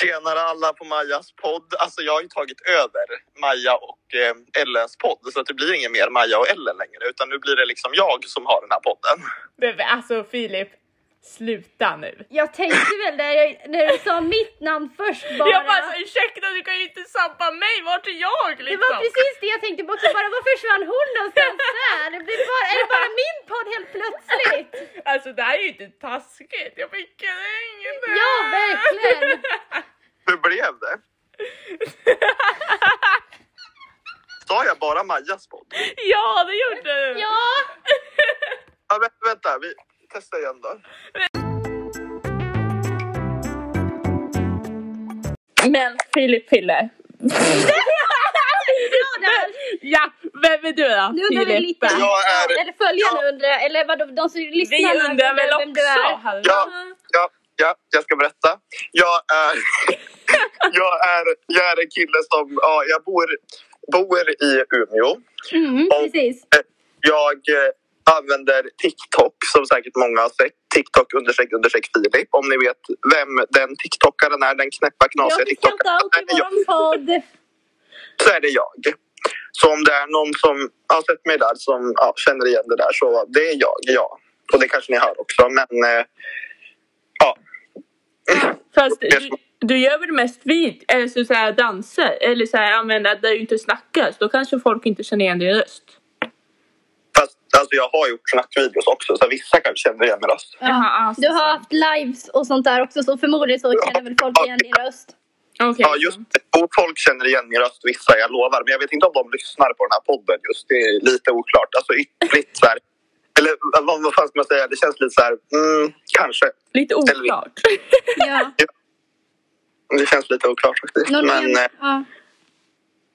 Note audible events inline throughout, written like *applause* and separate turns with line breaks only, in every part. Tjenare alla på Majas podd. Alltså jag har ju tagit över Maja och eh, Ellens podd så att det blir ingen mer Maja och Ellen längre utan nu blir det liksom jag som har den här podden.
Men Alltså Filip, sluta nu.
Jag tänkte väl när, jag, när du sa mitt namn först bara.
Jag bara alltså, ursäkta du kan ju inte sabba mig, vart är jag liksom?
det var precis det jag tänkte på också, bara var försvann hon någonstans där? Det blir bara, är det bara min podd helt plötsligt?
Alltså det här är ju inte taskigt, jag fick inget.
Ja, verkligen.
Hur blev *laughs* det? Sa jag bara Majas podd?
Ja, det gjorde du.
Ja,
Ja, vä- vänta, vi testar igen då.
Men Filip Fille.
där.
ja, vem är du då?
nu undrar vi
Filippe.
lite.
Jag är-
Eller följarna
Ja.
undrar, eller vadå, de som lyssnar
Vi
nu
undrar väl
vem du är.
också. hallå?
Ja. Ja, ja, jag ska berätta. Jag är, *laughs* jag är, jag är en kille som, ja, jag bor, bor i Umeå.
Mm,
Och-
precis.
Jag eh, använder TikTok som säkert många har sett. TikTok understreck understreck Filip. Om ni vet vem den TikTokaren är, den knäppa knasiga
Jag fick shout
TikTokaren.
out i
är, ja,
våran podd.
Så är det jag. Så om det är någon som har sett mig där som ja, känner igen det där så det är jag, ja. Och det kanske ni hör också men eh, ja.
Fast du, du gör väl mest vid, eller så, så här, danser, eller så här, använder där du inte snackas. Då kanske folk inte känner igen din röst.
Fast alltså, jag har gjort snackvideos också så vissa kanske känner igen min röst.
Jaha, alltså.
Du har haft lives och sånt där också så förmodligen så känner väl folk igen din röst.
Okej.
Ja, just det. Och folk känner igen min röst, vissa, jag lovar. Men jag vet inte om de lyssnar på den här podden just. Det är lite oklart. Alltså ytterligt så här. Eller vad, vad fan ska man säga? Det känns lite så här, mm, kanske.
Lite
Eller-
oklart.
Ja.
Det känns lite oklart faktiskt.
Någon,
Men eh,
en, ja.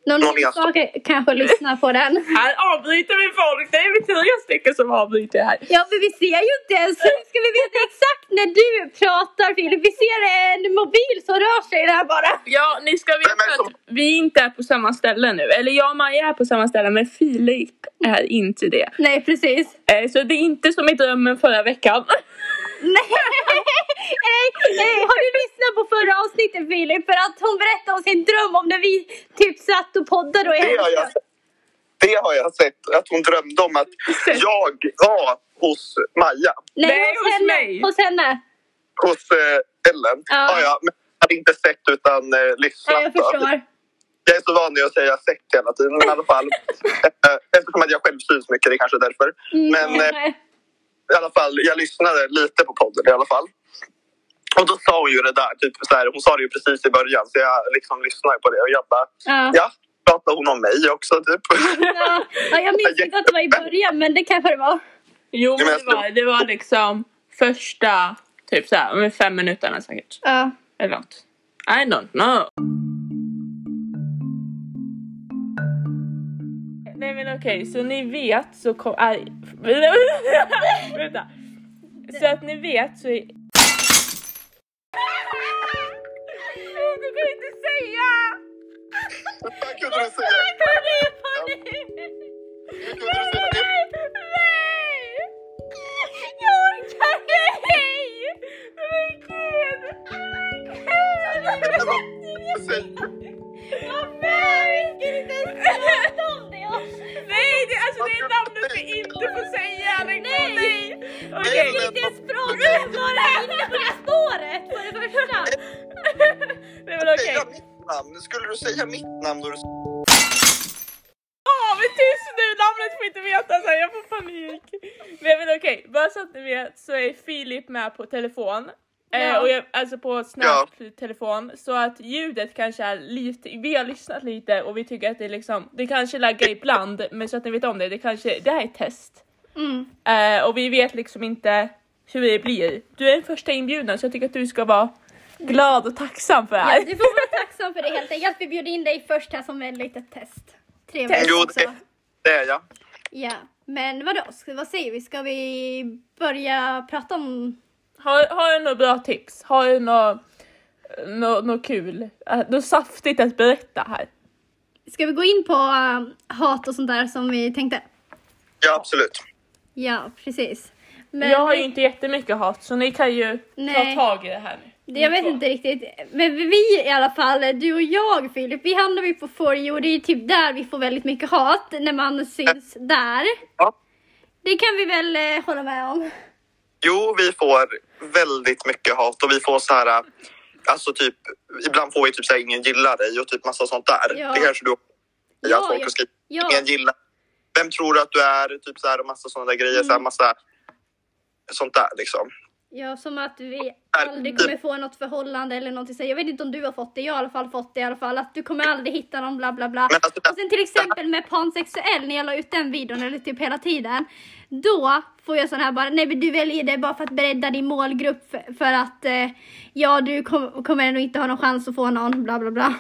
Någon,
någon
enstaka kanske lyssnar på den.
här avbryter vi folk. Det är vi fyra stycken som avbryter här.
*laughs* Ja, men vi ser ju inte ens. Hur ska vi veta exakt när du pratar Filip? Vi ser en mobil som rör sig där bara.
Ja, ni ska veta
Vem är det som-
att vi inte är på samma ställe nu. Eller jag och Maja är på samma ställe, men Filip är inte det.
Nej, precis.
Eh, Så det är inte som i drömmen förra veckan. *laughs*
Nej. *laughs* Nej, nej, har du lyssnat på förra avsnittet Filip? För att hon berättade om sin dröm om när vi typ satt och poddade och
det har jag det har jag sett, att hon drömde om att
*laughs*
jag var hos Maja,
Nej,
Nej,
hos
hos
henne.
mig.
Hos henne.
hos eh, Ellen.
Ja.
Ja. ja, men jag hade inte sett utan eh, lyssnat.
Ja, jag förstår.
Jag är så van vid att säga sett hela tiden, men i alla fall. Eh, Eftersom att jag själv syns mycket, det är kanske är därför.
Mm.
Men, eh,
nej.
i alla fall, jag lyssnade lite på podden i alla fall. Och då sa hon ju det där, typ så här, hon sa det ju precis i början så jag liksom lyssnade på det och jag bara,
ja.
ja, pratade hon om mig också typ?
Ja. ja, jag minns inte att det var i början men det kanske det var.
Jo, men
men
det var, det var liksom första typ så här, med fem minuterna säkert.
Ja.
Eller något. I don't know. Nej men okej, så ni vet så kom... Aj. *laughs* Vänta. Så att ni vet så... är- *laughs* Du kan inte säga!
Vad kunde du säga? Vad kunde du säga?
*laughs* Nej! Jag orkar inte! Men gud!
Men vad- vad säger-
Nej, det, alltså det är namnet vi inte får säga Alex.
Nej.
Okej.
Nej, men-
Nej men okej.
Säga mitt namn? Skulle du säga mitt namn då du
Ja, men tyst nu! Namnet får inte veta så här, jag får panik. Nej men okej, bara så att ni vet så är Filip med på telefon.
Ja.
Eh, och jag, alltså på snap-telefon. Så att ljudet kanske är lite, vi har lyssnat lite och vi tycker att det är liksom, det kanske laggar ibland men så att ni vet om det, det kanske, det här är ett test. Eh, och vi vet liksom inte hur det blir. Du är den första inbjudan så jag tycker att du ska vara glad och tacksam för det här.
Du får vara tacksam för det helt enkelt. Vi bjöd in dig först här som ett litet test. Trevligt
Jo,
också.
det- Det är jag.
Ja. Men vadå, ska, vad säger vi? Ska vi börja prata om...
Har, har du några bra tips? Har du något nå, nå kul? Äh, Något saftigt att berätta här?
Ska vi gå in på äh, hat och sånt där som vi tänkte?
Ja, absolut.
Ja, precis. Men
jag har ju
vi-
inte jättemycket hat så ni kan ju
Nej.
ta tag i det här nu.
Det- Jag
Ni
vet
två.
inte riktigt. Men vi i alla fall, du och jag Filip, vi hamnar ju på For you och det är typ där vi får väldigt mycket hat när man syns där.
Ja.
Det kan vi väl eh, hålla med om.
Jo, vi får väldigt mycket hat och vi får så här... Alltså typ, ibland får vi typ så här, ingen gillar dig och typ massa sånt där.
Ja.
Det kanske du
Ja,
ja, att folk
jag-
har skrivit
ja.
ingen gillar. Vem tror du att du är? Typ så här och massa sådana där grejer. Så här, massa sånt där liksom.
Ja, som att vi aldrig kommer få något förhållande eller någonting så. Jag vet inte om du har fått det, jag har i alla fall fått det i alla fall. Att du kommer aldrig hitta någon bla bla bla.
Men alltså,
Och sen till exempel med pansexuell, när jag la ut den videon, eller typ hela tiden. Då får jag sån här bara, nej men du väljer det bara för att bredda din målgrupp för, för att eh, ja du kom, kommer ändå inte ha någon chans att få någon, bla bla bla.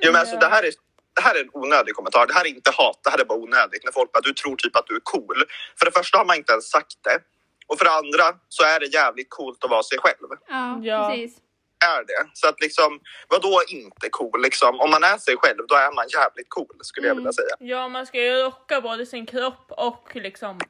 Jo, men alltså, det, här är, det här är en onödig kommentar. Det här är inte hat, det här är bara onödigt. När folk bara, du tror typ att du är cool. För det första har man inte ens sagt det. Och för det andra så är det jävligt coolt att vara sig själv.
Ja,
Ja.
precis.
Är det. Så att liksom, vadå inte cool liksom? Om man är sig själv, då är man jävligt cool skulle jag
Mm.
vilja säga.
Ja, man ska ju rocka både sin kropp och liksom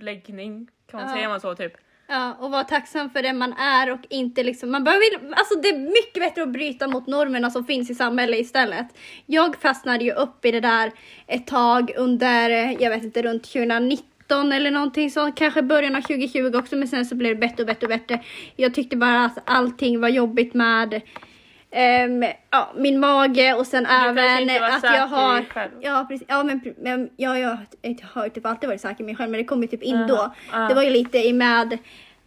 läggning. Kan man
Ja.
säga man så typ?
Ja, och vara tacksam för det man är och inte liksom, man behöver, alltså det är mycket bättre att bryta mot normerna som finns i samhället istället. Jag fastnade ju upp i det där ett tag under, eh, jag vet inte, runt 2019 eller någonting sånt, kanske början av 2020 också, men sen så blev det bättre och bättre och bättre. Jag tyckte bara att allting var jobbigt med ehm, ja, min mage och sen
kanske
även
inte var
att
säker
jag
i
har...
dig själv.
Ja, precis. Ja, men, men ja, jag, har typ alltid varit säker i mig själv, men det kom ju typ in då.
Aha, ja.
Det var ju lite i med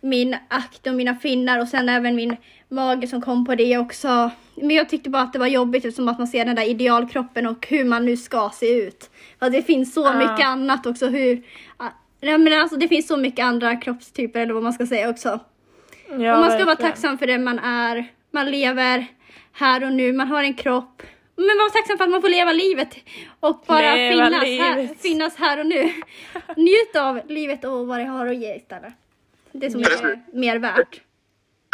min akt och mina finnar och sen även min mage som kom på det också. Men jag tyckte bara att det var jobbigt eftersom att man ser den där idealkroppen och hur man nu ska se ut. För det finns så
Ja.
mycket annat också hur... ja, Nej men alltså det finns så mycket andra kroppstyper eller vad man ska säga också.
Ja,
och man ska vara
verkligen.
tacksam för det man är. Man lever här och nu, man har en kropp. Men man var tacksam för att man får leva livet och bara
Leva
finnas, Här,
livet.
finnas här och nu. *laughs* Njut av livet och vad det har att ge istället. Det som
Precis.
är mer värt.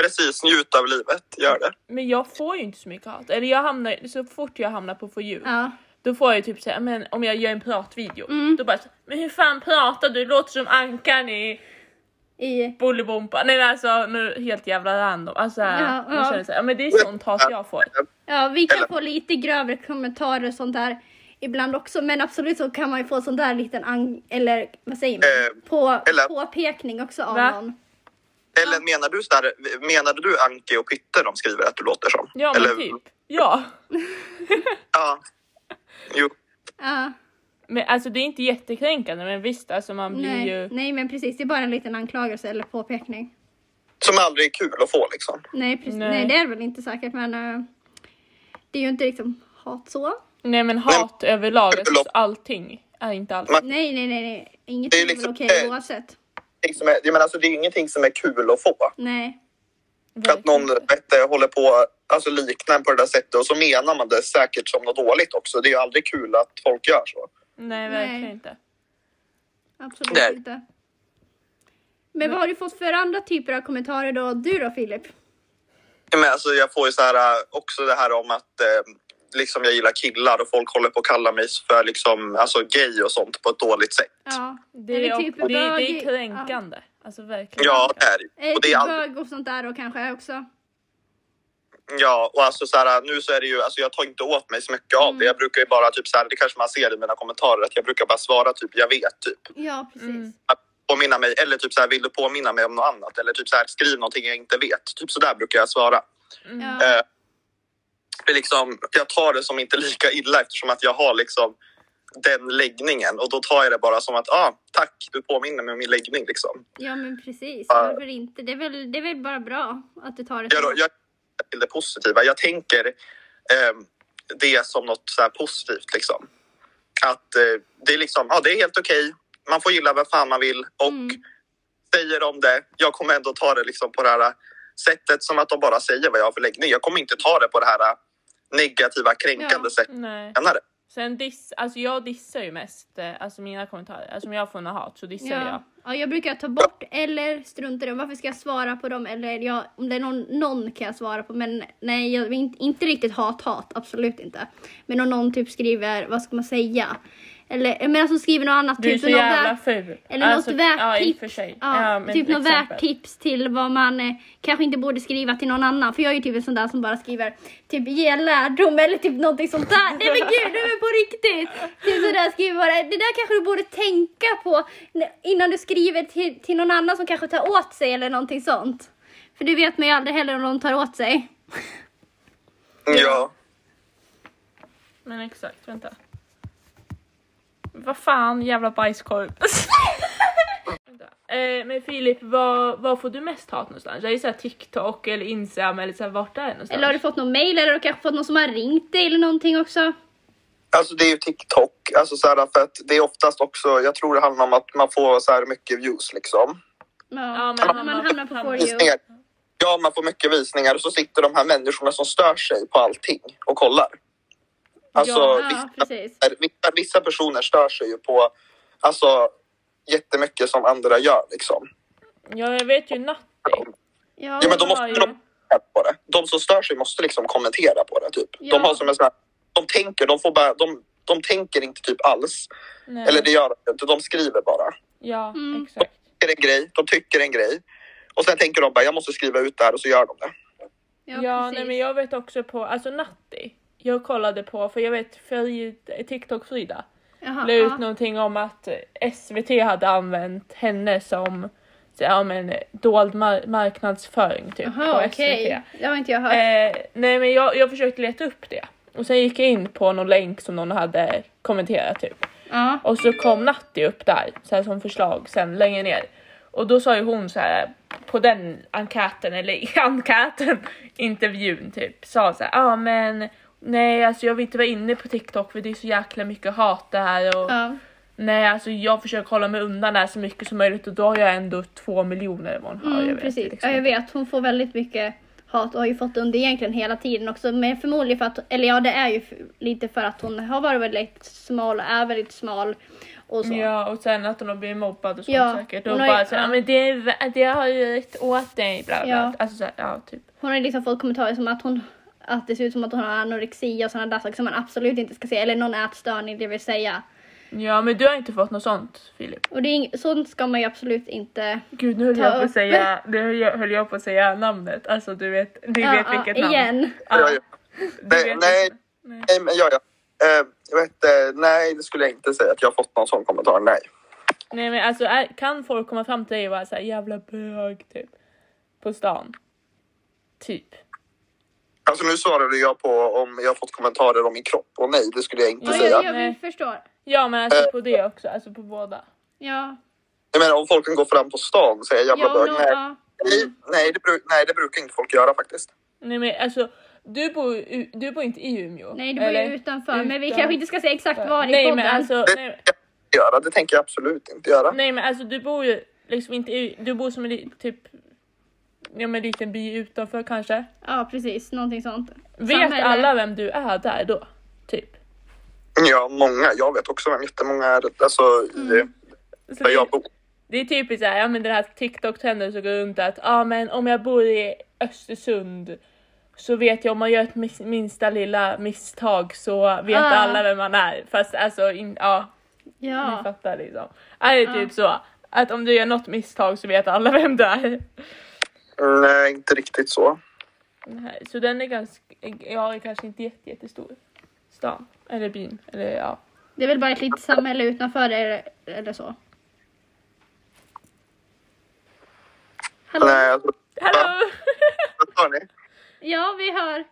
Precis, njut av livet, gör det.
Men jag får ju inte så mycket hat. Eller jag hamnar, så fort jag hamnar på For You,
Ja.
då får jag ju typ säga men om jag gör en pratvideo,
Mm.
då bara så, men hur fan pratar du? Låter som ankan i
I,
Bolibompa. Nej men alltså nu helt jävla random. Alltså
Ja,
man
ja.
känner så här, ja, men det är sånt hat jag får.
ja, vi kan
Eller-
få lite grövre kommentarer och sånt där ibland också. Men absolut så kan man ju få sån där liten, ang- eller vad säger man,
Eh,
på,
eller-
påpekning också av
Va?
någon.
Eller menar du, så här, menade du Anki och Pytte de skriver att du låter som?
Ja men
Eller,
typ. Ja.
Ja. Jo.
Ja.
Men alltså det är inte jättekränkande men visst alltså man blir
Nej,
ju
nej men precis, det är bara en liten anklagelse eller påpekning.
Som aldrig är kul att få liksom.
Nej, precis, nej.
Nej.
det är väl inte säkert men eh, det är ju inte liksom hat så.
Nej men hat överlag, alltså,
Förlåt.
allting är inte allt.
Man-
Nej, nej, nej, nej. inget
Det är
är,
ju
väl
liksom-
okej
eh,
oavsett.
Liksom, jag menar, alltså, det är ingenting som är kul att få.
Nej.
Att någon vet, du, håller på alltså liknar en på det där sättet och så menar man det säkert som något dåligt också. Det är ju aldrig kul att folk gör så.
Nej
Nej.
verkligen inte.
Absolut
Nej.
inte. Men vad har du fått för andra typer av kommentarer då? Du då Filip?
Ja, Men alltså, jag får ju så här, äh, också det här om att eh, liksom jag gillar killar och folk håller på att kalla mig för liksom, alltså, gay och sånt på ett dåligt sätt.
Ja.
Det är,
Eller
det, det
bög-
är kränkande. Alltså verkligen.
Ja, det är
Ja. Eh,
det. Och
Typ
det är aldrig,
bög och sånt där då kanske också.
Ja, och alltså så här, nu så är det ju, alltså jag tar inte åt mig så mycket av det. Jag brukar ju bara typ så här, det kanske man ser i mina kommentarer, att jag brukar bara svara typ jag vet typ.
Ja, precis.
Att Påminna mig, eller typ så här, vill du påminna mig om något annat? Eller typ så här, skriv någonting jag inte vet. Typ så där brukar jag svara.
Mm.
Ja.
Eh, det är liksom, jag tar det som inte lika illa eftersom att jag har liksom den läggningen och då tar jag det bara som att ah, tack, du påminner mig om min läggning liksom.
ja, men precis.
Ja.
Varför inte? Det är, väl, det är väl bara bra att du tar det
jag,
så.
jag till det positiva. Jag tänker ehm, det som något så här positivt. Liksom. Att eh, det är liksom, ja det är helt okej. Man får gilla vad fan man vill och
Mm.
säger om det. Jag kommer ändå ta det liksom på det här sättet som att de bara säger vad jag har för läggning. Jag kommer inte ta det på det här eh, negativa, kränkande
Ja.
sättet.
Nej.
senare.
Sen diss, alltså jag dissar ju mest eh, alltså mina kommentarer. Alltså om jag får något hat så dissar
Ja.
jag.
ja, jag brukar ta bort eller strunta i dem. Varför ska jag svara på dem? Eller jag, om det är någon, någon kan jag svara på. Men nej, jag, inte, inte riktigt hat-hat. Absolut inte. Men om någon typ skriver, vad ska man säga? Eller men alltså skriver något annat.
Du är
typ
så
något
jävla
värt-
ful.
Eller något värt
Alltså, ja, i och
tips.
för sig.
Ja,
Ja, men
typ något
exempel.
värt tips till vad man eh, kanske inte borde skriva till någon annan. För jag är ju typ en sån där som bara skriver typ ge lärdom eller typ någonting sånt där. Nej men gud, nej men på riktigt. Typ sådär skriver bara, det där kanske du borde tänka på n- innan du skriver till, till någon annan som kanske tar åt sig eller någonting sånt. För du vet man ju aldrig heller om de tar åt sig.
Ja.
Men exakt, vänta. Vad fan,
*laughs*
jävla bajskorv. Vänta. Eh, men Filip, vad, vad får du mest hat någonstans? Är det såhär TikTok eller Instagram eller såhär vart är det någonstans?
Eller har du fått någon mail eller har du kanske fått någon som har ringt dig eller någonting också?
Alltså det är ju TikTok, alltså så här, för att det är oftast också, jag tror det handlar om att man får så här mycket views liksom.
Ja, men
man,
man-
hamnar på
man-
for you.
Visningar. Ja, man får mycket visningar och så sitter de här människorna som stör sig på allting och kollar. Alltså,
Ja,
Ja,
vissa,
precis.
vissa, vissa personer stör sig ju på alltså, jättemycket som andra gör liksom.
Ja, jag vet ju Natti.
Ja,
Ja, men
de
då
har
måste
ju-
de kommentera på det. De som stör sig måste liksom kommentera på det. Typ.
Ja.
De har som en sån här, de tänker, de får bara, de, de tänker inte typ alls.
Nej.
Eller det gör de inte, de skriver bara.
Ja,
Mm.
exakt.
De tycker en grej, de tycker en grej. Och sen tänker de bara, jag måste skriva ut det här och så gör de det.
Ja, nej, men jag vet också på, alltså Natti. Jag kollade på, för jag vet Frid- TikTok-Frida
Jaha,
la ut
ja.
någonting om att SVT hade använt henne som så, ja, men, dold mar- marknadsföring typ
Jaha,
på SVT.
okej. Det har inte jag hört.
Eh, nej men jag, jag försökte leta upp det. Och sen gick jag in på någon länk som någon hade kommenterat typ.
ja.
Och så kom Natti upp där, så här som förslag sen längre ner. Och då sa ju hon så här på den enkäten, eller i *laughs* enkäten, intervjun typ, sa så här, ja ah, men nej alltså jag vill inte vara inne på TikTok för det är så jäkla mycket hat det här och
ja. Mm,
nej alltså jag försöker hålla mig undan det här så mycket som möjligt och då har jag ändå två miljoner eller vad hon har.
Mm,
jag vet
precis.
liksom
Ja, jag
inte.
vet. Hon får väldigt mycket hat och har ju fått det under egentligen hela tiden också. Men förmodligen för att, eller ja det är ju f- lite för att hon har varit väldigt smal och är väldigt smal och så.
Ja och sen att hon har blivit mobbad och sånt
Ja,
säkert.
hon
Och
har ju-
bara såhär,
ja.
ja. men det, är vä- det har ju rätt åt dig bla bla.
Ja.
Ja. Alltså såhär, ja typ.
Hon har liksom fått kommentarer som att hon att det ser ut som att hon har anorexi och sådana där saker som man absolut inte ska säga. Eller någon ätstörning det vill säga.
Ja men du har inte fått något sånt Filip.
Och det är ing- sånt ska man ju absolut inte
Gud nu höll
Ta
jag på
upp.
att säga, nu höll jag- höll jag på att säga namnet. Alltså du vet, du
Ja,
vet
ja,
vilket namn.
igen.
Ja,
Jag-
du
Nej,
vet
nej.
vilket- nej.
Nej, men ja, ja. Eh, jag vet, eh, nej, det skulle jag inte säga att jag har fått någon sån kommentar. Nej.
Nej men alltså är, kan folk komma fram till dig och vara såhär jävla bög typ. På stan. Typ.
Alltså nu svarade jag på om jag har fått kommentarer om min kropp och nej, det skulle jag inte
Ja,
säga.
jag, jag,
Nej.
jag förstår.
Ja men
Eh.
alltså på det också, alltså på båda.
Ja.
Jag menar om folk kan gå fram på stan och säga jävla
Ja,
bög.
no,
Nej,
ja.
nej, nej, det bru- nej, det brukar inte folk göra faktiskt.
Nej men alltså du bor, ju u- du bor inte i Umeå.
Nej, det var ju
eller?
utanför. Men vi
Utan-
kanske inte ska säga exakt var i
nej,
podden.
men alltså,
Det,
nej,
tänker jag göra. det tänker jag absolut inte göra.
nej men alltså du bor ju liksom inte i, du bor som en li- typ, ja men en liten by utanför kanske.
Ja, precis. Någonting sånt.
Vet
Samhälle.
alla vem du är där då? Typ.
Ja, många. Jag vet också vem jättemånga är alltså, i-
Så
där jag
Mm, det,
bor.
det är typiskt såhär, ja men den här TikTok-trenden som går runt att, ja ah, men om jag bor i Östersund så vet jag om man gör ett mis- minsta lilla misstag så vet
Ah.
alla vem man är. Fast alltså, in, ja. Ni
Ja.
fattar liksom. Är det typ så? Att om du gör något misstag så vet alla vem du är.
Nej, inte riktigt så.
Nej, Så den är ganska, ja är kanske inte jätte, jättestor. Stan, eller byn, eller ja.
Det är väl bara ett litet samhälle utanför eller, eller så. Hallå?
Nej, alltså,
Hallå!
vad sa ni?
Ja, vi hör.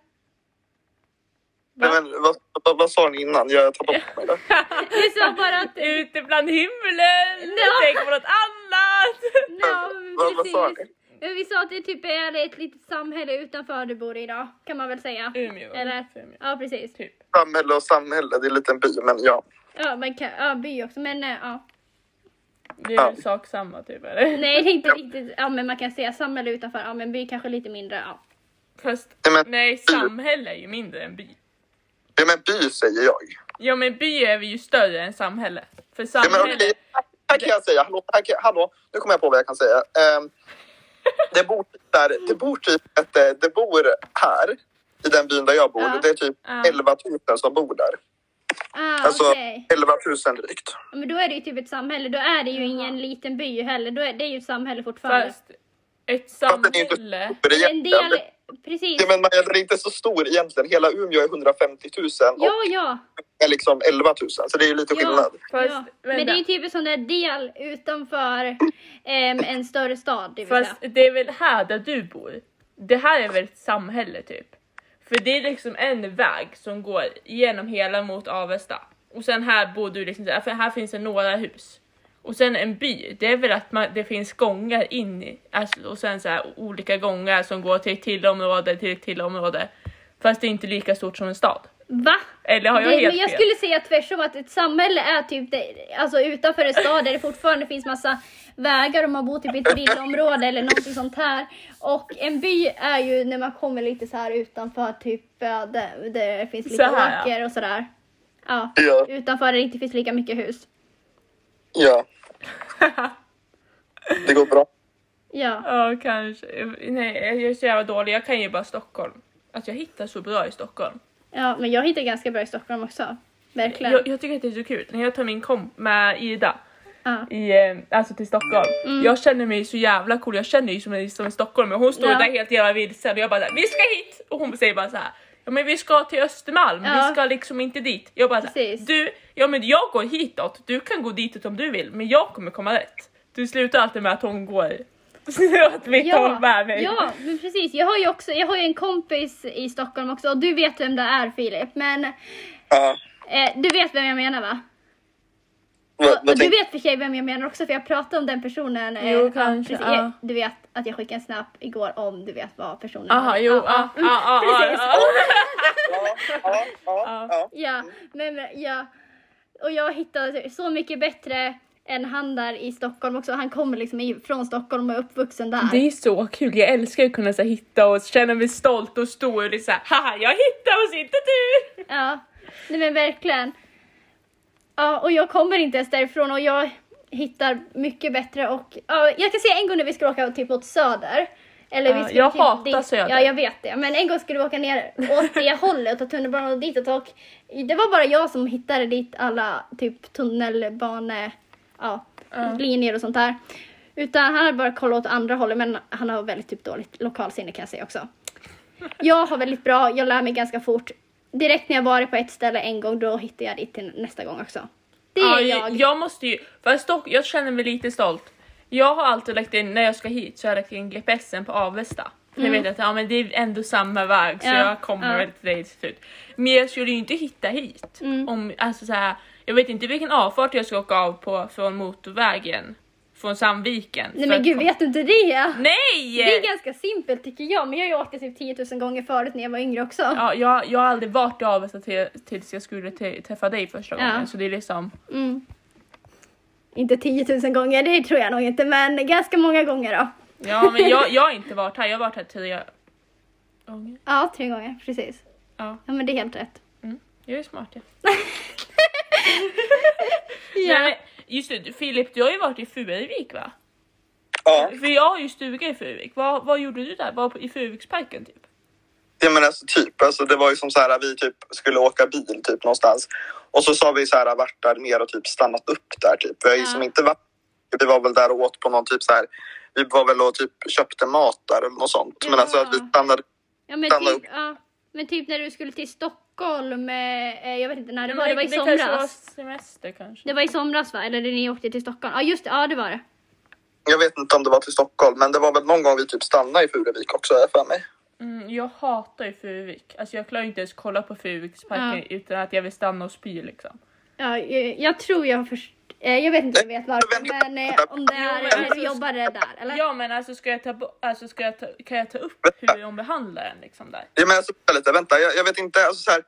Nej, men, vad, vad, vad sa ni innan? Jag tappade bort
*laughs*
mig där.
Vi sa bara
*laughs*
att...
*laughs* Ute bland himlen! *laughs*
Ja.
Tänk på något *laughs* annat!
Ja,
Vad- vad sa
precis. Men vi sa att det typ är ett litet samhälle utanför du bor i idag, kan man väl säga.
Umeå.
Eller?
Umeå.
Ja, precis.
Typ.
Samhälle och samhälle, det är en liten by, men ja.
Ja, men, ka- ja, by också, men eh, ja.
Det är väl sak samma typ eller?
Nej, det är inte riktigt. Ja, men man kan säga samhälle utanför. Ja, men by kanske lite mindre. Ja.
Fast
Nej, men,
nej, samhälle är ju mindre än by.
ja, men by säger jag.
Ja men by är vi ju större än samhälle. För
Ja, men,
samhälle,
okej, här kan jag säga, hallå, här kan, hallå, nu kommer jag på vad jag kan säga. Ehm, det, bor typ där, det bor typ ett, eh, det bor här, i den byn där jag bor,
Ja.
det är typ
Ja.
11 000 som bor där.
Ah,
Alltså
okej.
11 000 drygt.
Ja, Men då är det ju typ ett samhälle. Då är det ju ingen liten by heller. Då är det är ju ett samhälle fortfarande.
Fast ett
Fast den är inte
samhälle.
stor
en
egentligen.
del, precis.
Ja, men man är inte så stor egentligen. Hela Umeå är 150 000 och
Ja, ja.
är liksom 11 000. Så det är ju lite
Ja.
skillnad.
Fast,
ja. Men det
vänta.
är ju typ en sån där del utanför ehm, en större stad. Det vill
Fast
säga.
det är väl här där du bor? Det här är väl ett samhälle typ? För det är liksom en väg som går genom hela mot Avesta. Och sen här bor du liksom, där, för här finns det några hus. Och sen en by, det är väl att man, det finns gångar in i, alltså, och sen så här olika gångar som går till ett till område, till ett till område. Fast det är inte lika stort som en stad.
Va?
Eller har jag
det,
helt
men jag
fel?
skulle säga tvärtom att ett samhälle är typ det, alltså utanför en stad där det fortfarande finns massa vägar om man bor typ i ett villaområde eller någonting sånt här. Och en by är ju när man kommer lite så här utanför typ eh, där, där det finns lite
Så här, ja.
åker och sådär. Ja.
Ja.
Utanför där det inte finns lika mycket
*laughs*
hus.
Ja. Det går bra.
Ja.
Ja, kanske. Nej, jag är så jävla dålig. Jag kan ju bara Stockholm. Alltså jag hittar så bra i Stockholm.
ja, men jag hittar ganska bra i Stockholm också. Verkligen.
Jag, jag tycker att det är så kul. När jag tar min kom med Ida
Ja.
i, eh, alltså till Stockholm.
Mm.
Jag känner mig så jävla cool. Jag känner ju som en, som en stockholmare. Hon står
Ja.
där helt jävla vilsen och jag bara såhär, vi ska hit! Och hon säger bara så här. Ja men vi ska till Östermalm,
Ja.
vi ska liksom inte dit. Jag bara såhär,
Precis.
du, ja men jag går hitåt, du kan gå ditåt om du vill, men jag kommer komma rätt. Du slutar alltid med att hon går *laughs* åt mitt håll med mig.
Ja, men precis. Jag har ju också, jag har ju en kompis i Stockholm också och du vet vem det är Filip. Men
Ja.
eh, du vet vem jag menar va?
Vad,
Och,
vad
och du
tänk-
vet för sig vem jag menar också för jag pratade om den personen. eh,
Jo,
ja,
kanske,
precis. Jag-
ja.
Du vet att jag skickade en snap igår om du vet vad personen
Aha,
var.
jo, ah,
Ja,
ja,
mm,
ja, ja,
precis.
ja,
Ja, ja, ja, ja.
Ja, men men, ja. Och jag hittade så mycket bättre än han där i Stockholm också. Han kommer liksom i- från Stockholm och är uppvuxen där.
Det är så kul, jag älskar att kunna så här, hitta och känna mig stolt och stor och det är såhär, haha jag hittar oss inte du!
Ja, nej men verkligen. Ja, och jag kommer inte ens därifrån och jag hittar mycket bättre och ja, jag kan säga en gång när vi skulle åka typ åt söder. Eller vi
Ja,
skulle
jag
typ
hatar
dit.
söder.
Ja, jag vet det. Men en gång skulle vi åka ner åt det hållet och tunnelbanan och ditåt och det var bara jag som hittade dit alla typ tunnelbane, ja, linjer och sånt där. Utan han hade bara kollat åt andra hållet men han har väldigt typ dåligt lokalsinne kan jag säga också. Jag har väldigt bra, jag lär mig ganska fort. Direkt när jag varit på ett ställe en gång, då hittar jag dit till nästa gång också. Det är
Ja,
jag.
jag måste ju, för Stock, jag känner mig lite stolt. Jag har alltid lagt in, när jag ska hit så har jag lagt in GPSen på Avesta. För jag vet att ja, men det är ändå samma väg så
Mm. Ja,
jag kommer
ja.
väl till dig till slut. Men jag skulle ju inte hitta hit.
Mm.
Om, alltså, så här, jag vet inte vilken avfart jag ska åka av på från motorvägen. Från Sandviken.
Nej
för
men
att
gud,
kom-
vet du inte det?
Nej!
Det är ganska simpelt tycker jag, men jag har ju åkt det typ 10 000 gånger förut när jag var yngre också.
Ja, jag, jag har aldrig varit i Avesta till, tills jag skulle t- träffa dig första
Ja.
gången så det är liksom
Mm. Inte 10 000 gånger, det tror jag nog inte, men ganska många gånger då. *laughs*
Ja men jag, jag har inte varit här, jag har varit här tre gånger.
Ja, tre gånger, precis.
Ja,
Ja men det är helt rätt.
*laughs* mm. jag är smart ja.
Ja.
Nej, men just det, Filip du har ju varit i Furuvik va?
ja.
För jag har ju stuga i Furuvik, vad, vad gjorde du där? Var på, i Furuviksparken typ?
Ja men alltså typ, alltså, det var ju som så här vi typ skulle åka bil typ någonstans och så sa vi så här vart där ner och typ stannat upp där typ. Vi har ju
Ja.
som inte varit, vi var väl där och åt på någon typ så här, vi var väl och typ köpte mat där eller något sånt. Men
Ja.
alltså att vi stannade,
Ja men
Stanna
typ,
upp.
ja, men typ när du skulle till Stockholm, eh, jag vet inte när det
Nej,
var,
men
det var i
kanske var
somras.
semester kanske.
Det var i somras va? Eller när ni åkte till Stockholm? Ja just det, ja det var det.
jag vet inte om det var till Stockholm men det var väl någon gång vi typ stannade i Furuvik också har jag för mig.
Mm, jag hatar ju Furuvik, alltså jag klarar ju inte ens kolla på Furuviksparken
Ja.
utan att jag vill stanna och spy liksom.
Ja, jag, jag tror jag har först... eh, Jag vet inte om jag vet varför, men eh, om det
Jo, men
är när
alltså-
du jobbade där, eller?
Ja men alltså ska jag ta, bo- alltså, ska jag ta, kan jag ta upp hur de behandlar en liksom där?
Ja men alltså vänta lite, vänta jag, jag vet inte, alltså så här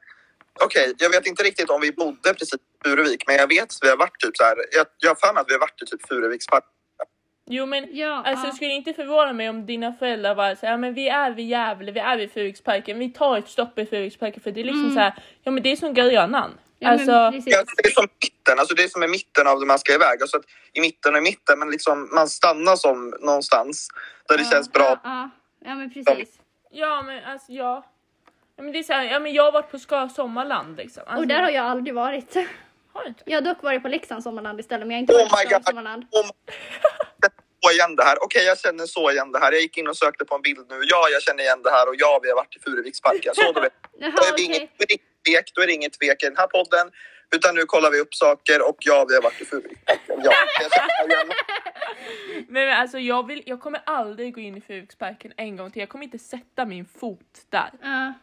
Okej, jag vet inte riktigt om vi bodde precis i Furuvik, men jag vet att vi har varit typ så här. Jag, jag har för mig att vi har varit i typ Furuvikspark.
Jo men
Ja,
alltså
ja.
skulle inte förvåna mig om dina föräldrar bara såhär, ja men vi är vid Gävle, vi är vid Furuviksparken, vi tar ett stopp i Furuviksparken för det är liksom så här, ja men det är som Grönan.
Mm. Ja, men
alltså,
precis.
Ja, det är som mitten, alltså det är som i mitten av det man ska iväg. Alltså att I mitten och i mitten, men liksom man stannar som någonstans där det känns bra.
Ja, ja. ja men precis.
ja men alltså ja. Ja, Men det är så här, ja, men jag har varit på Ska sommarland liksom. Alltså,
Och där har jag aldrig varit. *laughs*
har du inte?
Jag har dock varit på Leksands sommarland istället men jag har inte
Oh
varit på
my
Skans
god.
sommarland.
Om... Jag känner Så igen det här. Okej, jag känner så igen det här. Jag gick in och sökte på en bild nu. Ja, jag känner igen det här och ja, vi har varit i Furuviksparken. Så då vet
Jaha,
Då är, det
okej.
inget, då är det inget tvek, då är det inget tvek i den här podden. Utan nu kollar vi upp saker och ja, vi har varit i Furuviksparken. Ja, jag känner igen.
Nej men alltså jag, vill, jag kommer aldrig gå in i Furuviksparken en gång till. Jag kommer inte sätta min fot där.
Ja.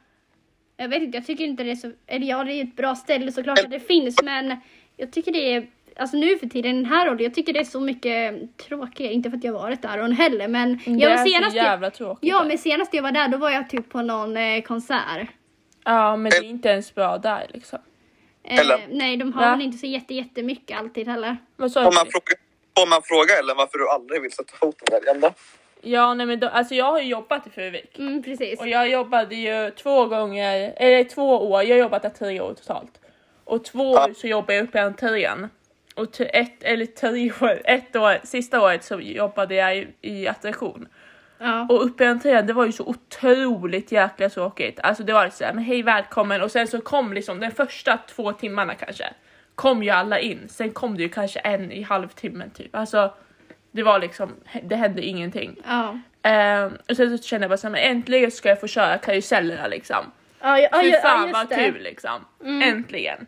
Jag vet inte, jag tycker inte det är så... Eller ja, det är ett bra ställe såklart att det finns men jag tycker det är... Alltså nu för tiden, den här åldern, jag tycker det är så mycket tråkigare. Inte för att jag varit där hon heller Mm. men...
Mm, det
Jag var
är
senast
så jävla tråkigt.
Ja
där.
men senast jag var där då var jag typ på någon eh, konsert.
ja men det är inte ens bra där liksom.
Eh,
Eller-
nej de har
Va?
väl inte så jätte, jättemycket alltid heller.
Vad sa
Får man
du?
fråga, får man fråga Ellen varför du aldrig vill sätta foten där igen då?
Ja nej men då, alltså jag har ju jobbat i Furuvik.
Mm precis.
Och jag jobbade ju två gånger, eller två år, jag har jobbat där tre år totalt. Och två
Ja.
år så jobbade jag uppe i entrén. Och t- ett, eller tre år, ett år, sista året så jobbade jag i, i attraktion.
Ja.
Och uppe i entrén, det var ju så otroligt jäkla tråkigt. Alltså det var så här, men hej välkommen och sen så kom liksom den första två timmarna kanske. Kom ju alla in, sen kom det ju kanske en i halvtimmen typ. Alltså det var liksom, det hände ingenting.
Ja.
Ehm, och sen så kände jag bara såhär, men äntligen ska jag få köra karusellerna liksom.
Ja, ja, ja,
Fy
ja,
fan
just
vad
det. Mm.
kul liksom. Äntligen.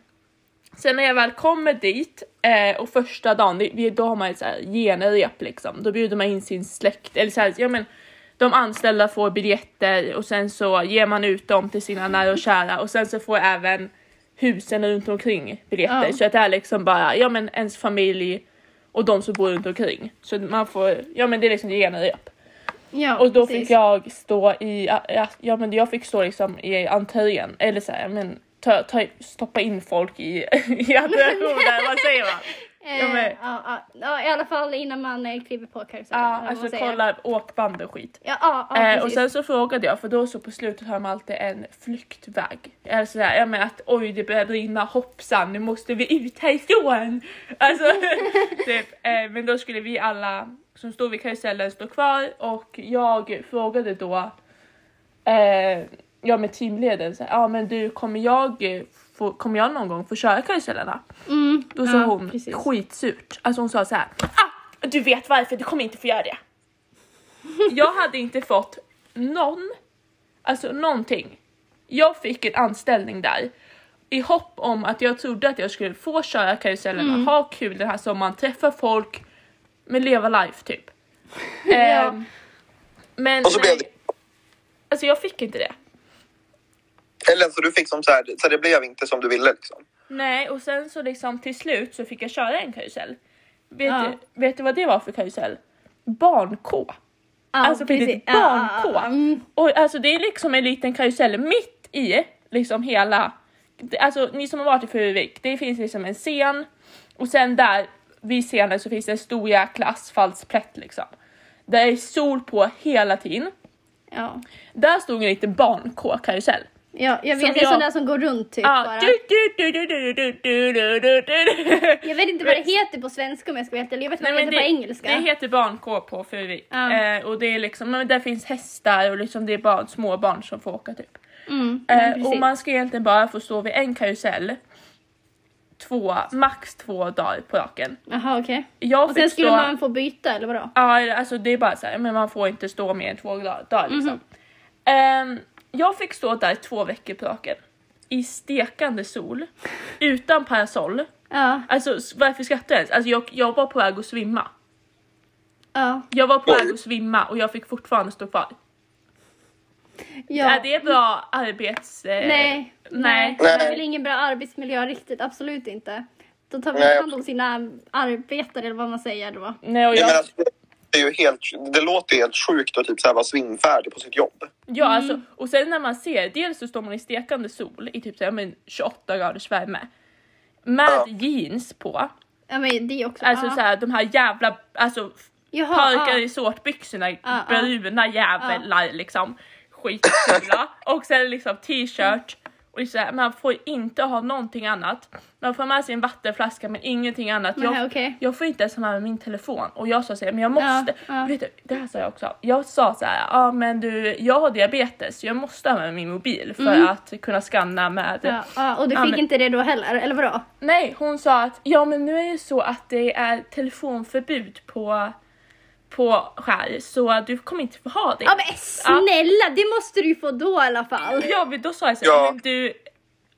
Sen när jag väl kommer dit eh, och första dagen, det- det, då har man ett så här genrep liksom. Då bjuder man in sin släkt, eller så här, ja men de anställda får biljetter och sen så ger man ut dem till sina nära och kära och sen så får även husen runt omkring biljetter.
Ja.
Så att det är liksom bara, ja men ens familj och de som bor runt omkring. Så man får, ja men det är liksom genrep.
Ja,
Och då
precis.
fick jag stå i, ja men jag fick stå liksom i entrén, eller så här, men ta, ta, stoppa in folk i, *laughs* i
*laughs*
attraktionen, vad säger man?
Eh,
Ja,
ja,
men-
ja, ja, i alla fall innan man eh, kliver på karusellen. eller
Ja,
vad
alltså
man säger.
kolla åkband och skit.
Ja, ja, ja
eh, och
precis.
sen så frågade jag, för då så på slutet har man alltid en flyktväg. Eller så här, ja men att oj det börjar brinna, hoppsan nu måste vi ut härifrån! Alltså, *laughs* typ, eh, men då skulle vi alla som stod vid karusellen stå kvar och jag frågade då eh, ja med teamledaren så här, ja men du kommer jag, eh, få, kommer jag någon gång få köra karusellerna?
Mm,
Då sa
ja,
hon
precis.
skitsurt. Alltså hon sa så här. Ah, du vet varför, du kommer inte få göra
*laughs*
det. Jag hade inte fått någon, alltså någonting. Jag fick en anställning där i hopp om att jag trodde att jag skulle få köra karusellerna,
Mm.
ha kul den här sommaren, träffa folk, men leva life typ.
*laughs*
Ehm, men
Och så blev
nej. Alltså jag fick inte det.
det... Ellen, så du fick som så här, så det blev inte som du ville liksom.
Nej, och sen så liksom till slut så fick jag köra en karusell. Vet,
Ja.
du, vet du vad det var för karusell? Barn-K.
Ja,
alltså på
precis.
riktigt,
Ja,
barn-K.
ja, ja, mm.
Och alltså det är liksom en liten karusell mitt i liksom hela, det- alltså ni som har varit i Furuvik, det finns liksom en scen och sen där vid scenen så finns det en stor jäkla asfaltsplätt liksom. Där är sol på hela tiden.
Ja.
Där stod en liten barn-K-karusell.
ja, jag
Som
vet. Det är sån
jag- Ah,
där som går runt typ
Ja,
bara.
du, du, du, du, du, du, du, du, du, du.
Jag vet inte vad det heter på svenska om jag ska vara helt ärlig. Jag vet vad det heter på engelska.
Det heter barn-K på Furuvik.
Ja.
Eh, och det är liksom, men där finns hästar och liksom det är barn, små barn som får åka typ.
Mm, ja,
Eh,
precis.
och man ska egentligen bara få stå vid en karusell. Två, max två dagar på raken.
Jaha okej.
Jag
Och
fick
sen skulle
stå...
man få byta eller vadå?
Ja, eller, alltså det är bara så här, men man får inte stå mer än två dagar dagar,
Mhm.
liksom. Ehm, jag fick stå där två veckor på raken. I stekande sol. Utan parasoll.
Ja,
Alltså s- varför skrattar jag ens? Alltså jag, jag var på väg att svimma.
ja,
Jag var på
Oj.
väg att svimma och jag fick fortfarande stå kvar.
ja.
Är det bra arbets... eh,
Nej, nej.
nej.
Det är
Nej.
väl ingen bra arbetsmiljö riktigt, absolut inte. De tar väl
Nej.
hand om sina arbetare eller vad man säger då.
Nej, och
Jag menar,
jag,
alltså, det, är ju helt, det låter ju helt sjukt att typ så här vara svimfärdig på sitt jobb.
ja, alltså,
Mm.
och sen när man ser, dels så står man i stekande sol i typ så här, men 28 graders värme. Med
Ja.
jeans på,
Ja men det också.
alltså
ja.
så här, de här jävla alltså,
Jaha,
parkar
ja.
i sortbyxorna,
ja.
bruna jävlar liksom, skitfula. och sen liksom t-shirt Och det är så här, man får inte ha någonting annat. Man får med sig en vattenflaska men ingenting annat.
Nej,
jag,
okej.
jag får inte ens ha med mig min telefon. Och jag sa så här, men jag måste.
ja.
Vet du, det här sa jag också. Jag sa så här, ja men du, jag har diabetes så jag måste ha med min mobil för att kunna scanna med.
Mm. Ja, ja, och du
Ja,
fick
men-
inte det då heller, eller vadå?
Nej, hon sa att ja men nu är det så att det är telefonförbud på, på skär så du kommer inte få ha det.
Ja men snälla, det måste du ju få då i alla fall.
Ja, men då sa jag så här,
Ja.
men du,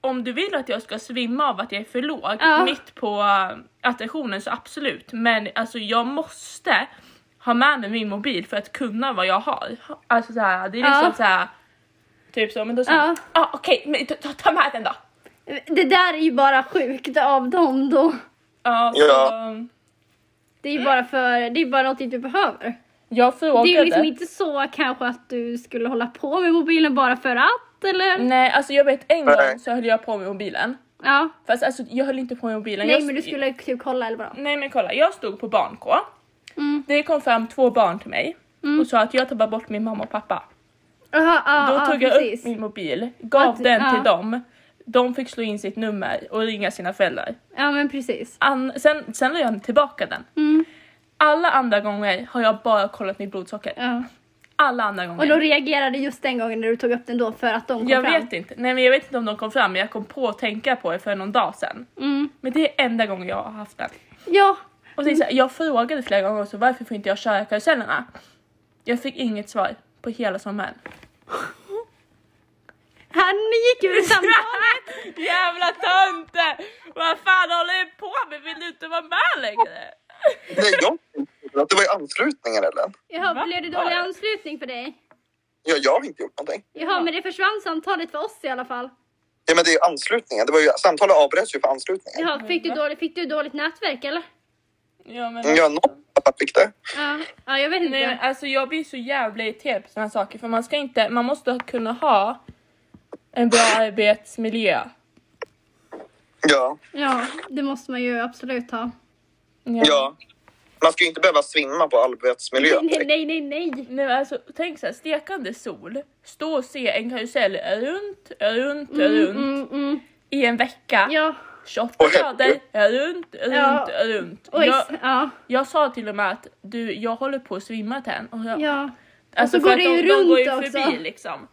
om du vill att jag ska svimma av att jag är för låg
Ja.
mitt på äh, attraktionen så absolut. Men alltså jag måste ha med mig min mobil för att kunna vad jag har. Alltså så här, det är
Ja.
liksom så här. Typ så, men då sa
Ja.
ja. ah, okej, men ta, ta, ta med den då.
Det där är ju bara sjukt av dem då.
Ja, så,
Ja.
Det är ju bara för, det är bara någonting du behöver.
Jag
Det
frågade.
är ju liksom inte så kanske att du skulle hålla på med mobilen bara för att eller?
Nej, alltså jag vet en
Nej.
gång så höll jag på med mobilen.
Ja.
Fast alltså jag höll inte på med mobilen.
Nej
jag
men du skulle typ kolla eller vadå?
Nej men kolla, jag stod på barnkå.
Mm.
Det kom fram två barn till mig och sa att jag tappade bort min mamma och pappa.
Jaha, Mm. ja,
Då
ja,
tog jag upp
precis.
min mobil, gav
Att-
den till
ja.
dem. De fick slå in sitt nummer och ringa sina föräldrar.
Ja men precis.
An- sen, sen la jag tillbaka den.
Mm.
Alla andra gånger har jag bara kollat mitt blodsocker.
Ja.
Alla andra
Och då
gånger.
reagerade just den gången när du tog upp den då för att de kom
Jag
fram?
vet inte. Nej men jag vet inte om de kom fram men jag kom på att tänka på det för någon dag sedan.
Mm.
Men det är enda gången jag har haft den.
Ja.
Och sen, så här, jag frågade flera gånger också varför får inte jag köra karusellerna? Jag fick inget svar på hela sommaren.
Han gick ur samtalet.
*laughs* Jävla tönte! Vad fan håller du på med? Vill du inte vara med längre?
Nej, jag Det var ju anslutningar, eller?
Jaha,
Va?
blev det dålig anslutning för dig?
Ja, jag har inte gjort någonting.
Jaha, men det försvann samtalet för oss i alla fall.
Ja, men det är ju anslutningar. Det var ju, samtalet avbröts ju för anslutningar.
Jaha, fick du dåligt, fick du dåligt nätverk eller?
Ja, men...
Ja, någon fick det.
Ja, ja jag vet inte.
Nej, men alltså jag blir så jävla irriterad på sådana saker för man ska inte, man måste kunna ha en bra arbetsmiljö.
Ja.
Ja, det måste man ju absolut ha.
Ja.
ja. Man ska ju inte behöva svimma på arbetsmiljön.
Nej, nej, nej, nej.
Nej, men alltså, tänk såhär, stekande sol, stå och se en karusell runt, runt, runt
Mm, mm.
i en vecka.
Ja,
28 grader, runt, runt,
Ja.
runt.
oj.
Jag,
Ja,
jag sa till och med att du, jag håller på att svimma Ten. Och jag,
ja.
Alltså
Och
för
så går
att
det
de,
ju
de går ju
runt också.
förbi liksom.